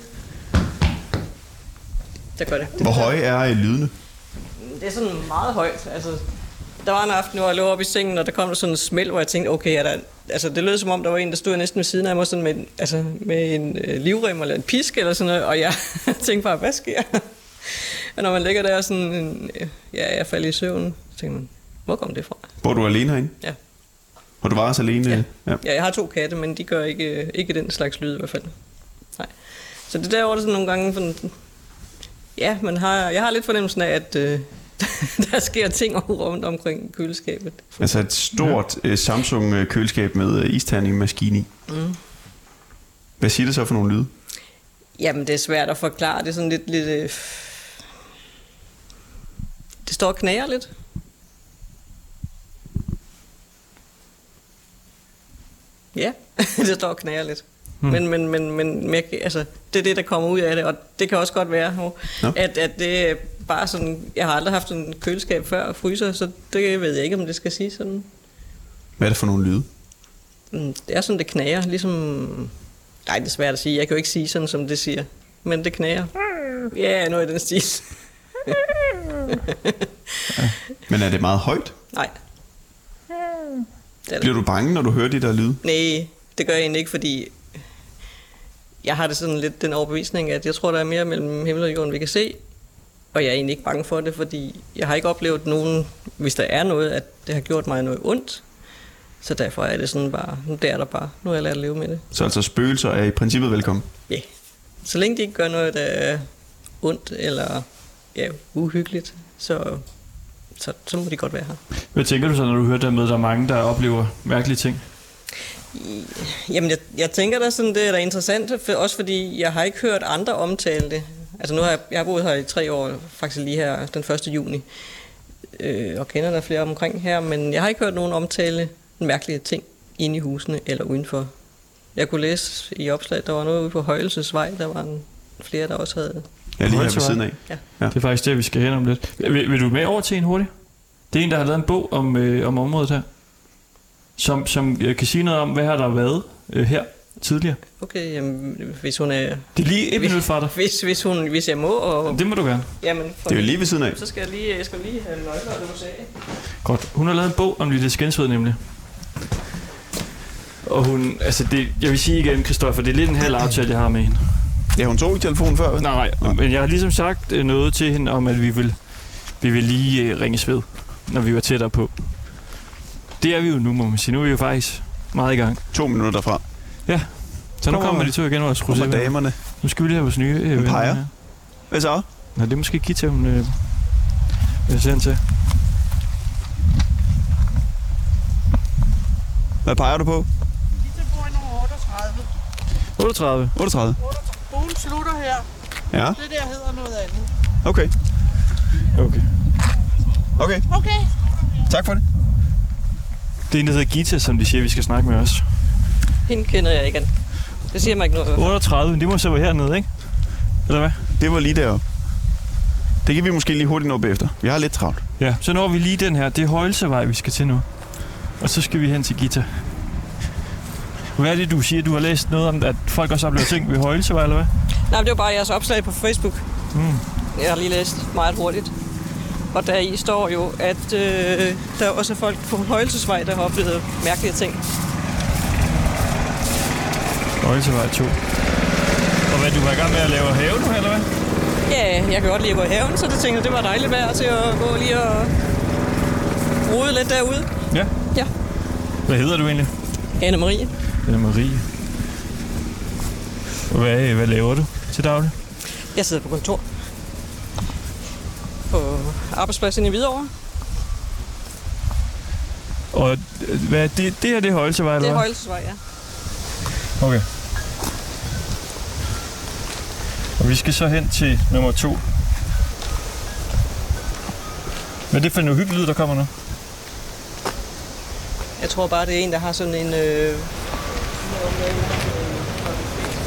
[SPEAKER 11] der gør det.
[SPEAKER 2] Hvor høje er øh, lydene?
[SPEAKER 11] Det er sådan meget højt, altså... Der var en aften, hvor jeg lå oppe i sengen, og der kom der sådan en smæld, hvor jeg tænkte, okay, er der... Altså, det lød som om, der var en, der stod næsten ved siden af mig sådan med, en- altså, med en øh, livrem eller en pisk eller sådan noget, og jeg tænkte bare, hvad sker der?" Og når man ligger der sådan, en, øh, ja, jeg falder i søvn, så tænker man, hvor kom det fra?
[SPEAKER 2] Bor du alene herinde?
[SPEAKER 11] Ja.
[SPEAKER 2] Og du var også alene? øh, ja.
[SPEAKER 11] Ja, jeg har to katte, men de gør ikke, øh, ikke den slags lyd i hvert fald. Nej. Så det der var det sådan nogle gange sådan... Ja, man har, jeg har lidt fornemmelsen af, at øh, der sker ting rundt omkring køleskabet.
[SPEAKER 2] Altså et stort ja. Samsung-køleskab med øh, isterning-maskine i. Mm. Hvad siger det så for nogle lyde?
[SPEAKER 11] Jamen, det er svært at forklare. Det er sådan lidt... lidt øh, det står og knager lidt. Ja, det står og knager lidt. Hmm. Men, men, men, men, men jeg, altså, det er det, der kommer ud af det, og det kan også godt være, hov,
[SPEAKER 2] Nå.
[SPEAKER 11] at, at det er bare sådan... Jeg har aldrig haft en køleskab før og fryser, så det ved jeg ikke, om det skal sige sådan.
[SPEAKER 2] Hvad er det for nogle lyde?
[SPEAKER 11] Mm, Det er sådan, det knager, ligesom... Nej, det er svært at sige. Jeg kan jo ikke sige sådan, som det siger. Men det knager. Ja, yeah, noget i den stil.
[SPEAKER 2] Men er det meget højt?
[SPEAKER 11] Nej. Det er der.
[SPEAKER 2] Bliver du bange, når du hører de der lyde?
[SPEAKER 11] Nej, det gør jeg egentlig ikke, fordi jeg har det sådan lidt den overbevisning, at jeg tror, der er mere mellem himmel og jord, end vi kan se. Og jeg er egentlig ikke bange for det, fordi jeg har ikke oplevet nogen, hvis der er noget, at det har gjort mig noget ondt. Så derfor er det sådan bare, nu der er der bare, nu har jeg lært at leve med det.
[SPEAKER 2] Så altså spøgelser er i princippet velkommen.
[SPEAKER 11] Ja, yeah. så længe de ikke gør noget, der er ondt eller ja, uhyggeligt, så, så, så må de godt være her.
[SPEAKER 1] Hvad tænker du så, når du hører der med, at der er mange, der oplever mærkelige ting?
[SPEAKER 11] Jamen, jeg, jeg tænker da sådan, det er da interessant, for, også fordi jeg har ikke hørt andre omtale det. Altså nu har jeg, jeg har boet her i tre år, faktisk lige her den 1. juni, øh, og kender der flere omkring her, men jeg har ikke hørt nogen omtale mærkelige ting inde i husene eller udenfor. Jeg kunne læse i opslag, der var noget ude på Højelsesvej, der var en, flere, der også havde
[SPEAKER 2] Ja, lige her ved siden af.
[SPEAKER 11] Ja.
[SPEAKER 2] Ja.
[SPEAKER 1] Det er faktisk det, vi skal hen om lidt. Vil, vil du med over til en hurtigt? Det er en, der har lavet en bog om, øh, om området her, som, som øh, kan sige noget om, hvad har der været øh, her tidligere.
[SPEAKER 11] Okay, jamen, hvis hun er...
[SPEAKER 1] Det er lige et
[SPEAKER 11] hvis-
[SPEAKER 1] minut fra dig.
[SPEAKER 11] Hvis, hvis, hun, hvis jeg må, og...
[SPEAKER 1] Det må du gerne.
[SPEAKER 11] Jamen, for
[SPEAKER 1] Det er jo lige ved siden af.
[SPEAKER 11] Så skal jeg lige, jeg skal lige have nøgler, og det må sige.
[SPEAKER 1] Godt. Hun har lavet en bog om Lille Skensved nemlig. Og hun, altså det, jeg vil sige igen, Kristoffer, det er lidt en halv aftale, jeg har med hende.
[SPEAKER 2] Ja, hun tog ikke telefonen før,
[SPEAKER 1] Nej, nej, men jeg har ligesom sagt øh, noget til hende om, at vi vil, vi vil lige øh, ringes ved, når vi var tættere på. Det er vi jo nu, må man sige. Nu er vi jo faktisk meget i gang.
[SPEAKER 2] To minutter derfra.
[SPEAKER 1] Ja, så nu
[SPEAKER 2] Kommer-
[SPEAKER 1] kommer de to igen, vores rosé.
[SPEAKER 2] kommer damerne.
[SPEAKER 1] Nu skal vi lige have vores nye øh,
[SPEAKER 2] Hun
[SPEAKER 1] venner
[SPEAKER 2] peger.
[SPEAKER 1] her.
[SPEAKER 2] Hvad så?
[SPEAKER 1] Nå, det er måske Gita, hun øh, vil sende til.
[SPEAKER 2] Hvad peger du på?
[SPEAKER 1] 38.
[SPEAKER 2] 38.
[SPEAKER 3] Ugen slutter her.
[SPEAKER 2] Ja.
[SPEAKER 3] Det der hedder noget andet.
[SPEAKER 2] Okay.
[SPEAKER 1] Okay.
[SPEAKER 2] Okay.
[SPEAKER 3] Okay.
[SPEAKER 2] Tak for det.
[SPEAKER 1] Det er en, der hedder Gita, som de siger, vi skal snakke med os.
[SPEAKER 11] Hende kender jeg ikke. Det siger mig ikke noget.
[SPEAKER 1] 38, det må så være hernede, ikke? Eller hvad?
[SPEAKER 2] Det var lige deroppe. Det kan vi måske lige hurtigt nå bagefter. Vi har lidt travlt.
[SPEAKER 1] Ja, så når vi lige den her. Det er Højelsevej, vi skal til nu. Og så skal vi hen til Gita. Hvad er det, du siger? Du har læst noget om, at folk også oplever ting ved Højelsevej, eller hvad?
[SPEAKER 11] Nej, men det var bare jeres opslag på Facebook.
[SPEAKER 1] Mm.
[SPEAKER 11] Jeg har lige læst meget hurtigt. Og der i står jo, at øh, der er også folk på Højelsesvej, der har oplevet mærkelige ting.
[SPEAKER 1] Højelsevej 2. Og hvad, du var i gang med at lave have nu, eller hvad?
[SPEAKER 11] Ja, jeg kan godt lide at gå i haven, så det tænkte jeg, det var dejligt vejr til at gå lige og rode lidt derude.
[SPEAKER 1] Ja.
[SPEAKER 11] Ja.
[SPEAKER 1] Hvad hedder du egentlig?
[SPEAKER 11] Anne-Marie,
[SPEAKER 1] Anna Marie. Og Hvad, hvad laver du til daglig?
[SPEAKER 11] jeg sidder på kontor på arbejdspladsen i Hvidovre.
[SPEAKER 1] Og øh, hvad, er det, det her det er Højelsevej,
[SPEAKER 11] Det
[SPEAKER 1] eller
[SPEAKER 11] er
[SPEAKER 1] hvad?
[SPEAKER 11] Højelsesvej, ja.
[SPEAKER 1] Okay. Og vi skal så hen til nummer to. Hvad er det for en uhyggelig lyd, der kommer nu?
[SPEAKER 11] Jeg tror bare, det er en, der har sådan en... Øh...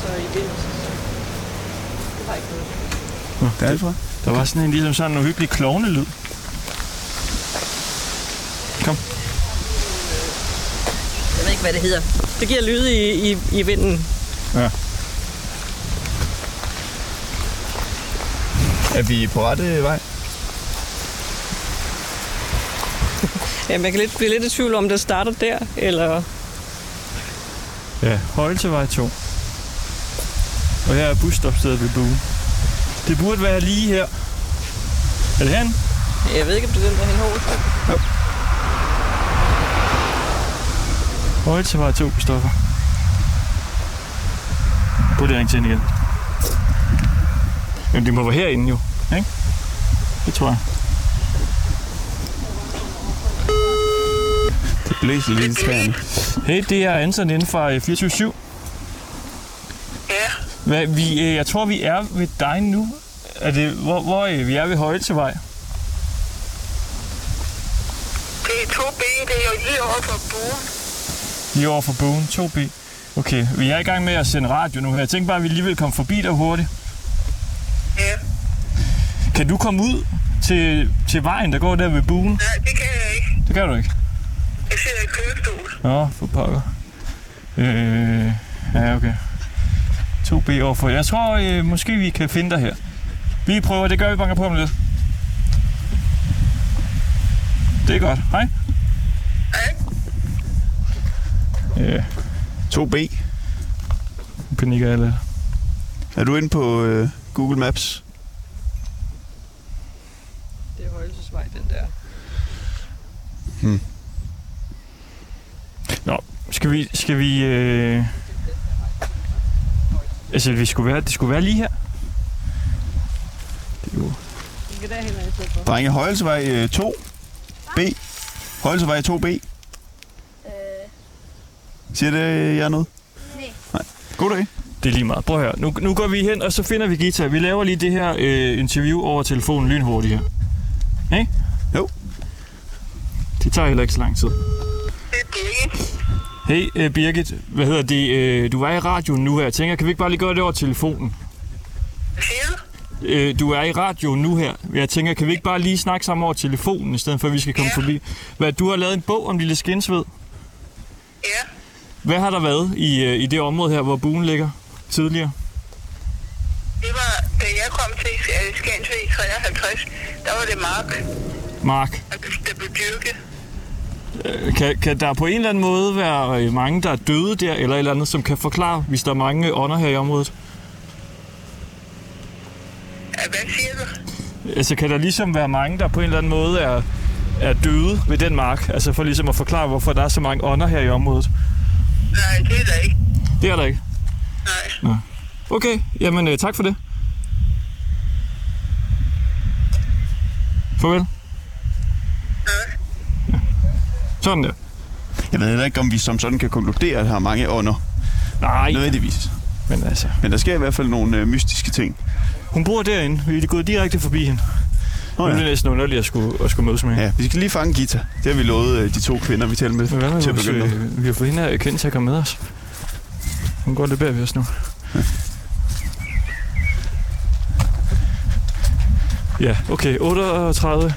[SPEAKER 11] Så i det... Det var ikke noget.
[SPEAKER 1] Nå, Derfra. Der var sådan en ligesom sådan en uhyggelig klovnelyd. Kom.
[SPEAKER 11] Jeg ved ikke, hvad det hedder. Det giver lyde i, i, i vinden.
[SPEAKER 1] Ja.
[SPEAKER 2] Er vi på rette vej?
[SPEAKER 11] Jamen, jeg kan lidt, blive lidt i tvivl om, det starter der, eller...
[SPEAKER 1] Ja, Højelsevej 2. Og her er busstopstedet ved Buen. Det burde være lige her. Er det herinde?
[SPEAKER 11] Jeg ved ikke, om det er den, der hen over.
[SPEAKER 1] Højelsevej 2, Kristoffer. Prøv lige at ringe til hende igen. Jamen, det må være herinde jo, ikke? Det tror jeg.
[SPEAKER 2] Det blæser lidt i træerne.
[SPEAKER 1] Hey, det er Anton inden fra øh, 24-7. Ja. Hvad, vi, øh, jeg tror, vi er ved dig nu. Er det, hvor, hvor øh, vi er ved Højelsevej?
[SPEAKER 10] Det er 2B, det er jo lige over for buen.
[SPEAKER 1] Lige over for Bogen 2B. Okay, vi er i gang med at sende radio nu. Jeg tænkte bare, at vi lige ville komme forbi dig hurtigt.
[SPEAKER 10] Ja.
[SPEAKER 1] Kan du komme ud til, til vejen, der går der ved Bogen?
[SPEAKER 10] Nej, det kan jeg ikke.
[SPEAKER 1] Det kan du ikke.
[SPEAKER 10] Jeg sidder i kørestol.
[SPEAKER 1] Nå, for pokker. Øh, ja, okay. 2B overfor. Jeg tror, øh, måske vi kan finde dig her. Vi prøver, det gør vi banker på om lidt. Det er godt. Hej.
[SPEAKER 2] Ja. 2B. Panikker jeg lidt. Er du inde på øh, Google Maps?
[SPEAKER 11] Det er Højelsesvej, den der.
[SPEAKER 1] Nå, skal vi... Skal vi øh... Altså, vi skulle være, det skulle være lige her.
[SPEAKER 11] Vi kan derhen i stedet for.
[SPEAKER 2] Drenge, Højelsevej øh, 2. B. Højelsevej 2B. Øh. Siger det jer noget? Nej. God dag.
[SPEAKER 1] Det er lige meget. Prøv at høre. Nu, nu går vi hen, og så finder vi Gita. Vi laver lige det her øh, interview over telefonen lynhurtigt her. Ikke?
[SPEAKER 2] Jo.
[SPEAKER 1] Det tager heller ikke så lang tid. Hej øh, Birgit, hvad hedder det? Øh, du er i radioen nu her. Jeg tænker, kan vi ikke bare lige gøre det over telefonen? Øh, du er i radioen nu her. Jeg tænker, kan vi ikke bare lige snakke sammen over telefonen, i stedet for at vi skal komme ja. forbi? Hvad, du har lavet en bog om Lille Skinsved? Ja. Hvad har der været i, øh, i det område her, hvor buen ligger tidligere?
[SPEAKER 10] Det var, da jeg kom til øh, Skansved i 53, der var det mark,
[SPEAKER 1] Mark,
[SPEAKER 10] der blev dyrket.
[SPEAKER 1] øh, kan, kan der på en eller anden måde være øh, mange, der er døde der, eller et eller andet, som kan forklare, hvis der er mange øh, ånder her i området?
[SPEAKER 10] Hvad siger du?
[SPEAKER 1] Altså, kan der ligesom være mange, der på en eller anden måde er, er døde ved den mark? Altså, for ligesom at forklare, hvorfor der er så mange ånder her i området.
[SPEAKER 10] Nej, det er der ikke.
[SPEAKER 1] Det er der ikke.
[SPEAKER 10] Nej.
[SPEAKER 1] Nå. Okay, jamen øh, tak for det. Farvel. Sådan der.
[SPEAKER 2] Jeg ved heller ikke, om vi som sådan kan konkludere, at der er mange ånder.
[SPEAKER 1] Nej.
[SPEAKER 2] Nødvendigvis.
[SPEAKER 1] Men altså...
[SPEAKER 2] Men der sker i hvert fald nogle øh, mystiske ting.
[SPEAKER 1] Hun bor derinde. Vi er gået direkte forbi hende.
[SPEAKER 2] Nå, ja.
[SPEAKER 1] Nu er det næsten underligt at skulle, at skulle mødes med hende.
[SPEAKER 2] Ja, vi skal lige fange Gita. Det har vi lovet øh, de to kvinder, vi talte med
[SPEAKER 1] Men hvad med
[SPEAKER 2] til at
[SPEAKER 1] vores,
[SPEAKER 2] begynde med.
[SPEAKER 1] øh, vi har fået hende her kendt til at komme med os. Hun går lidt bag ved os nu. Ja, okay. 38.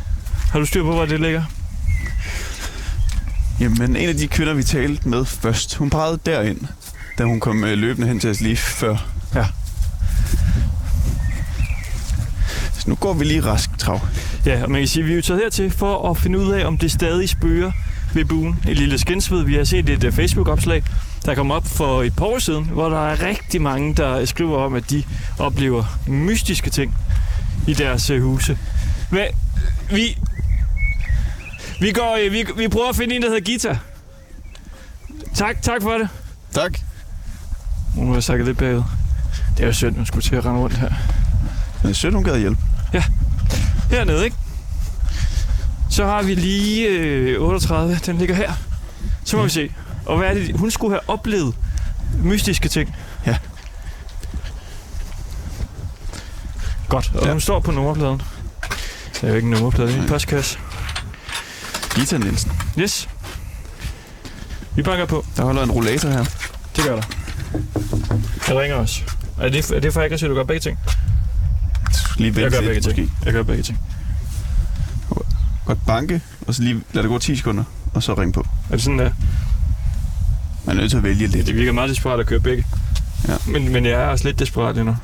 [SPEAKER 1] Har du styr på, hvor det ligger?
[SPEAKER 2] Jamen, en af de kvinder, vi talte med først, hun pegede derind, da hun kom øh, løbende hen til os lige før.
[SPEAKER 1] Ja.
[SPEAKER 2] Så nu går vi lige rask trav.
[SPEAKER 1] Ja, og man kan sige, at vi er jo taget hertil for at finde ud af, om det stadig spøger ved buen i Lille Skensved. Vi har set et øh, Facebook-opslag, der kom op for et par år siden, hvor der er rigtig mange, der skriver om, at de oplever mystiske ting i deres øh, huse. Men vi... Vi, går, øh, vi, vi prøver at finde en, der hedder Gita. Tak, tak for det.
[SPEAKER 2] Tak.
[SPEAKER 1] Hun har sagt lidt bagud. Det er jo synd, hun skulle til at rende rundt her.
[SPEAKER 2] Men sødt, hun gad hjælpe.
[SPEAKER 1] Ja, hernede, ikke? Så har vi lige øh, 38, den ligger her. Så må vi se. Og hvad er det, hun skulle have oplevet? Mystiske ting.
[SPEAKER 2] Ja.
[SPEAKER 1] Godt, og ja. hun står på nummerpladen. Der er jo ikke en nummerplade, det er en postkasse.
[SPEAKER 2] Gita Nielsen.
[SPEAKER 1] Yes. Vi banker på.
[SPEAKER 2] Der holder en rollator her.
[SPEAKER 1] Det gør der. Jeg ringer også. Er det, er det for aggressivt, at du gør begge ting?
[SPEAKER 2] Lige
[SPEAKER 1] Jeg
[SPEAKER 2] vent
[SPEAKER 1] gør
[SPEAKER 2] lidt,
[SPEAKER 1] begge ting.
[SPEAKER 2] måske.
[SPEAKER 1] Jeg gør begge ting.
[SPEAKER 2] Godt banke, og så lige lad det gå 10 sekunder, og så ring på.
[SPEAKER 1] Er det sådan der?
[SPEAKER 2] Man er nødt til at vælge lidt.
[SPEAKER 1] Det virker meget desperat at køre begge.
[SPEAKER 2] Ja.
[SPEAKER 1] Men, men jeg er også lidt desperat lige nu.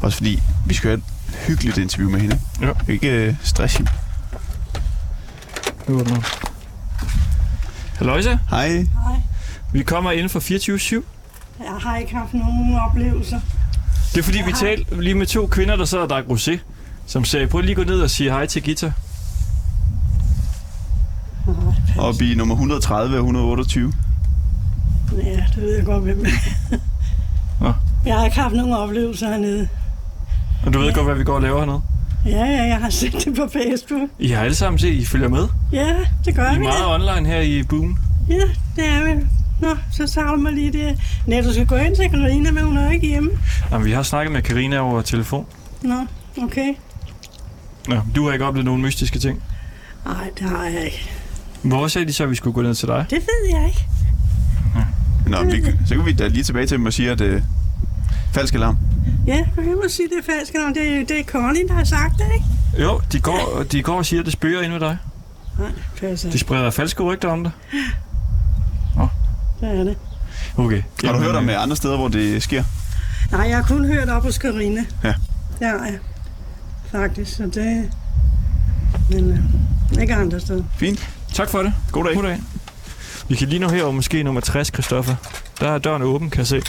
[SPEAKER 2] Også fordi vi skal have et hyggeligt interview med hende.
[SPEAKER 1] Ja.
[SPEAKER 2] Ikke øh, stress hende.
[SPEAKER 1] Nu åbner hun. Halløjsa.
[SPEAKER 2] Hej.
[SPEAKER 12] Hej.
[SPEAKER 1] Vi kommer inden for 24-7.
[SPEAKER 12] Jeg har ikke haft nogen oplevelser.
[SPEAKER 1] Det er fordi, vi talte lige med to kvinder, der sad og drak rosé, som sagde, prøv lige at gå ned og sige hej til Gita.
[SPEAKER 2] Og i nummer 130 og 128.
[SPEAKER 12] Ja, det ved jeg godt, hvem
[SPEAKER 1] Nå.
[SPEAKER 12] Jeg har ikke haft nogen oplevelser hernede.
[SPEAKER 1] Og du ved godt, hvad vi går og laver hernede.
[SPEAKER 12] Ja, ja, jeg har set det på Facebook.
[SPEAKER 1] I har alle sammen set, I følger med.
[SPEAKER 12] Ja, det gør
[SPEAKER 1] I
[SPEAKER 12] vi.
[SPEAKER 1] er meget online her i buen.
[SPEAKER 12] Ja, det er vi. Nå, så savner mig lige det. Nej, du skal gå ind til Karina, men hun er jo ikke hjemme.
[SPEAKER 1] Jamen, vi har snakket med Karina over telefon.
[SPEAKER 12] Nå, okay.
[SPEAKER 1] Nå, du har ikke oplevet nogen mystiske ting.
[SPEAKER 12] Nej, det har jeg ikke.
[SPEAKER 1] Hvor sagde de så, at vi skulle gå ned til dig?
[SPEAKER 12] Det ved jeg ikke.
[SPEAKER 2] Nå, vi, så kan vi da lige tilbage til dem og sige, at øh, falsk alarm.
[SPEAKER 12] Ja, du kan jo sige, det er falsk, når det, er- det er Connie, der har sagt det, ikke?
[SPEAKER 1] Jo, de går, de går og siger, at det spøger inde ved dig.
[SPEAKER 12] Nej, det passer.
[SPEAKER 1] De spreder falske rygter om dig.
[SPEAKER 12] Det er det.
[SPEAKER 1] Okay.
[SPEAKER 2] Har du hørt om øh, andre steder, hvor det sker?
[SPEAKER 12] Nej, jeg har kun hørt op hos Karina.
[SPEAKER 2] Ja.
[SPEAKER 12] Det har jeg. Faktisk, så det... Men øh, ikke andre steder.
[SPEAKER 2] Fint.
[SPEAKER 1] Tak for det.
[SPEAKER 2] God dag.
[SPEAKER 1] God dag. Vi kan lige nå herover måske nummer 60, Christoffer. Der er døren åben, kan jeg se.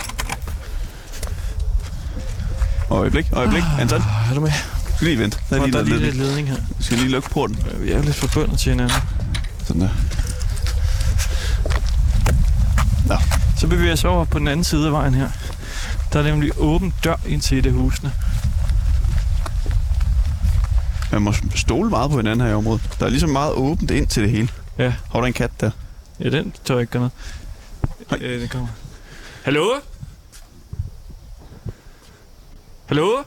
[SPEAKER 2] Øjeblik, øjeblik. Anton?
[SPEAKER 1] Ah, Er du med?
[SPEAKER 2] Skal lige vente.
[SPEAKER 1] Der er lige, der er lige
[SPEAKER 2] noget
[SPEAKER 1] lidt ledning her.
[SPEAKER 2] Vi skal lige lukke porten.
[SPEAKER 1] Vi er jo lidt forbundet til hinanden.
[SPEAKER 2] Sådan der. Nå.
[SPEAKER 1] Så bevæger vi os over på den anden side af vejen her. Der er nemlig åben dør ind til et af husene.
[SPEAKER 2] Man må stole meget på hinanden her i området. Der er ligesom meget åbent ind til det hele.
[SPEAKER 1] Ja.
[SPEAKER 2] Har du en kat der?
[SPEAKER 1] Ja, den tør ikke gøre noget. Hej. Øh, den kommer.
[SPEAKER 6] Hallo? Hallo?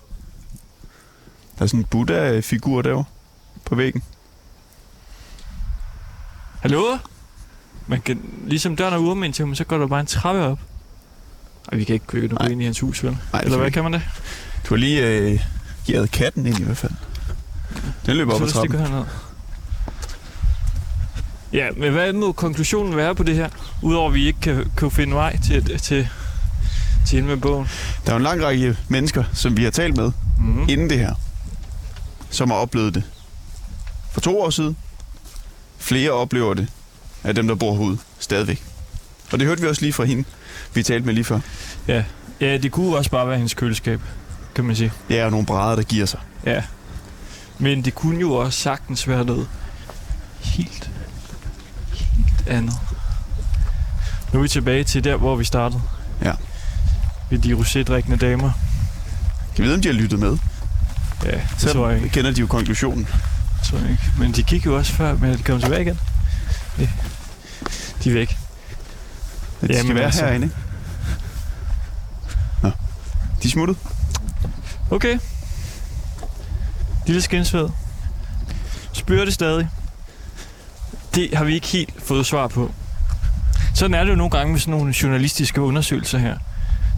[SPEAKER 2] Der er sådan en Buddha-figur derovre på væggen.
[SPEAKER 1] Hallo? Man kan, ligesom døren er åben indtil, men så går der bare en trappe op. Og vi kan ikke købe noget ind i hans hus, vel?
[SPEAKER 2] Nej,
[SPEAKER 1] Eller hvad
[SPEAKER 2] ikke.
[SPEAKER 1] kan man det?
[SPEAKER 2] Du har lige øh, givet katten ind i hvert fald. Den løber op
[SPEAKER 1] så
[SPEAKER 2] ad
[SPEAKER 1] lad os lige
[SPEAKER 2] trappen.
[SPEAKER 1] gå herned. Ja, men hvad må konklusionen være på det her? Udover at vi ikke kan, kan finde vej til, til, til hende med bogen.
[SPEAKER 2] Der er jo en lang række mennesker, som vi har talt med
[SPEAKER 1] mm-hmm.
[SPEAKER 2] inden det her, som har oplevet det. For to år siden. Flere oplever det af dem, der bor herude stadigvæk. Og det hørte vi også lige fra hende, vi talte med lige før.
[SPEAKER 1] Ja. ja, det kunne også bare være hendes køleskab, kan man sige.
[SPEAKER 2] Ja, og nogle brædder, der giver sig.
[SPEAKER 1] Ja. Men det kunne jo også sagtens være noget helt, helt andet. Nu er vi tilbage til der, hvor vi startede.
[SPEAKER 2] Ja.
[SPEAKER 1] Ved de rosédrikkende damer.
[SPEAKER 2] Jeg ved, om de har lyttet med.
[SPEAKER 1] Ja, det
[SPEAKER 2] Øh, Så
[SPEAKER 1] tror jeg ikke.
[SPEAKER 2] kender de jo konklusionen.
[SPEAKER 1] Det tror jeg ikke. Men de gik jo også før, men er de kom tilbage igen. Ja. De er væk.
[SPEAKER 2] Ja, de skal
[SPEAKER 1] Jamen,
[SPEAKER 2] være
[SPEAKER 1] altså.
[SPEAKER 2] herinde, ikke? Nå. De er smuttet.
[SPEAKER 1] Okay. Lille skinsved. Spyrer det stadig? Det har vi ikke helt fået svar på. Sådan er det jo nogle gange med sådan nogle journalistiske undersøgelser her.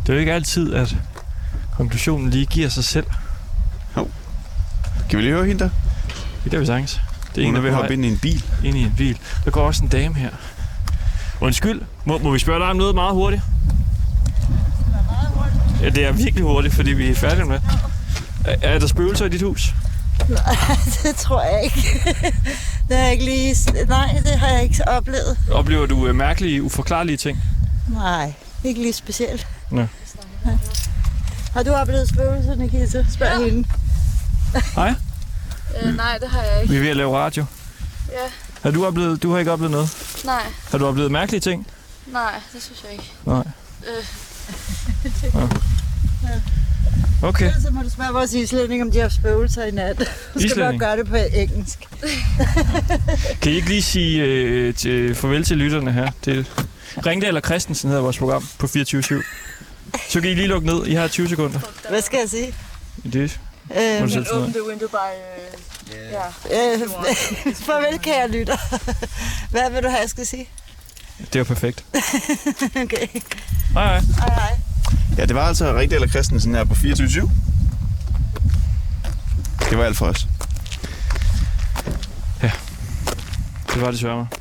[SPEAKER 1] Det er jo ikke altid, at konklusionen lige giver sig selv.
[SPEAKER 2] Kan vi lige høre hende der?
[SPEAKER 1] Det er vi sagtens. Det
[SPEAKER 2] Hun er
[SPEAKER 1] der
[SPEAKER 2] ved at
[SPEAKER 1] på
[SPEAKER 2] hoppe
[SPEAKER 1] vej
[SPEAKER 2] ind i en bil.
[SPEAKER 1] Ind i en bil. Der går også en dame her. Undskyld, må, må vi spørge dig om noget meget hurtigt? Ja, det er virkelig hurtigt, fordi vi er færdige med. Er, er der spøgelser i dit hus?
[SPEAKER 13] Nej, det tror jeg ikke. Det har jeg ikke lige... Nej, det har jeg ikke oplevet.
[SPEAKER 1] Oplever du øh, mærkelige, uforklarlige ting?
[SPEAKER 13] Nej, ikke lige specielt.
[SPEAKER 1] Nå.
[SPEAKER 13] Ja. Har du oplevet spøgelser, Nikita? Spørg ja. hende.
[SPEAKER 1] Hej,
[SPEAKER 14] Øh, nej, det har jeg
[SPEAKER 1] vi
[SPEAKER 14] ikke.
[SPEAKER 1] er ved at lave radio.
[SPEAKER 14] Ja,
[SPEAKER 1] Har du, oplevet, du har ikke oplevet noget?
[SPEAKER 14] nej,
[SPEAKER 1] Har du oplevet mærkelige ting?
[SPEAKER 14] nej, det synes jeg ikke.
[SPEAKER 1] Nej.
[SPEAKER 14] Øh.
[SPEAKER 1] Nå. Ah. Okay.
[SPEAKER 13] Så må du spørge vores islænding, om de har haft spøgelser i nat. Du skal bare
[SPEAKER 1] Islænding?
[SPEAKER 13] gøre det på engelsk.
[SPEAKER 1] Kan I ikke lige sige øh, til, farvel til lytterne her? Det Ringdal og Christensen hedder vores program på 24 Så kan I lige lukke ned. I har 20 sekunder.
[SPEAKER 13] Hvad skal jeg sige?
[SPEAKER 1] Det må du selv
[SPEAKER 13] Øhm,
[SPEAKER 1] finde ud af.
[SPEAKER 13] the window by... Uh, yeah. Øh, farvel, kære lytter. Hvad vil du have, jeg skal sige?
[SPEAKER 1] Det var perfekt.
[SPEAKER 13] okay.
[SPEAKER 1] Hej, hej.
[SPEAKER 13] Hej, hej.
[SPEAKER 2] Ja, det var altså Rigtig eller Christensen her på 24 Det var alt for os.
[SPEAKER 1] Det var det sværme.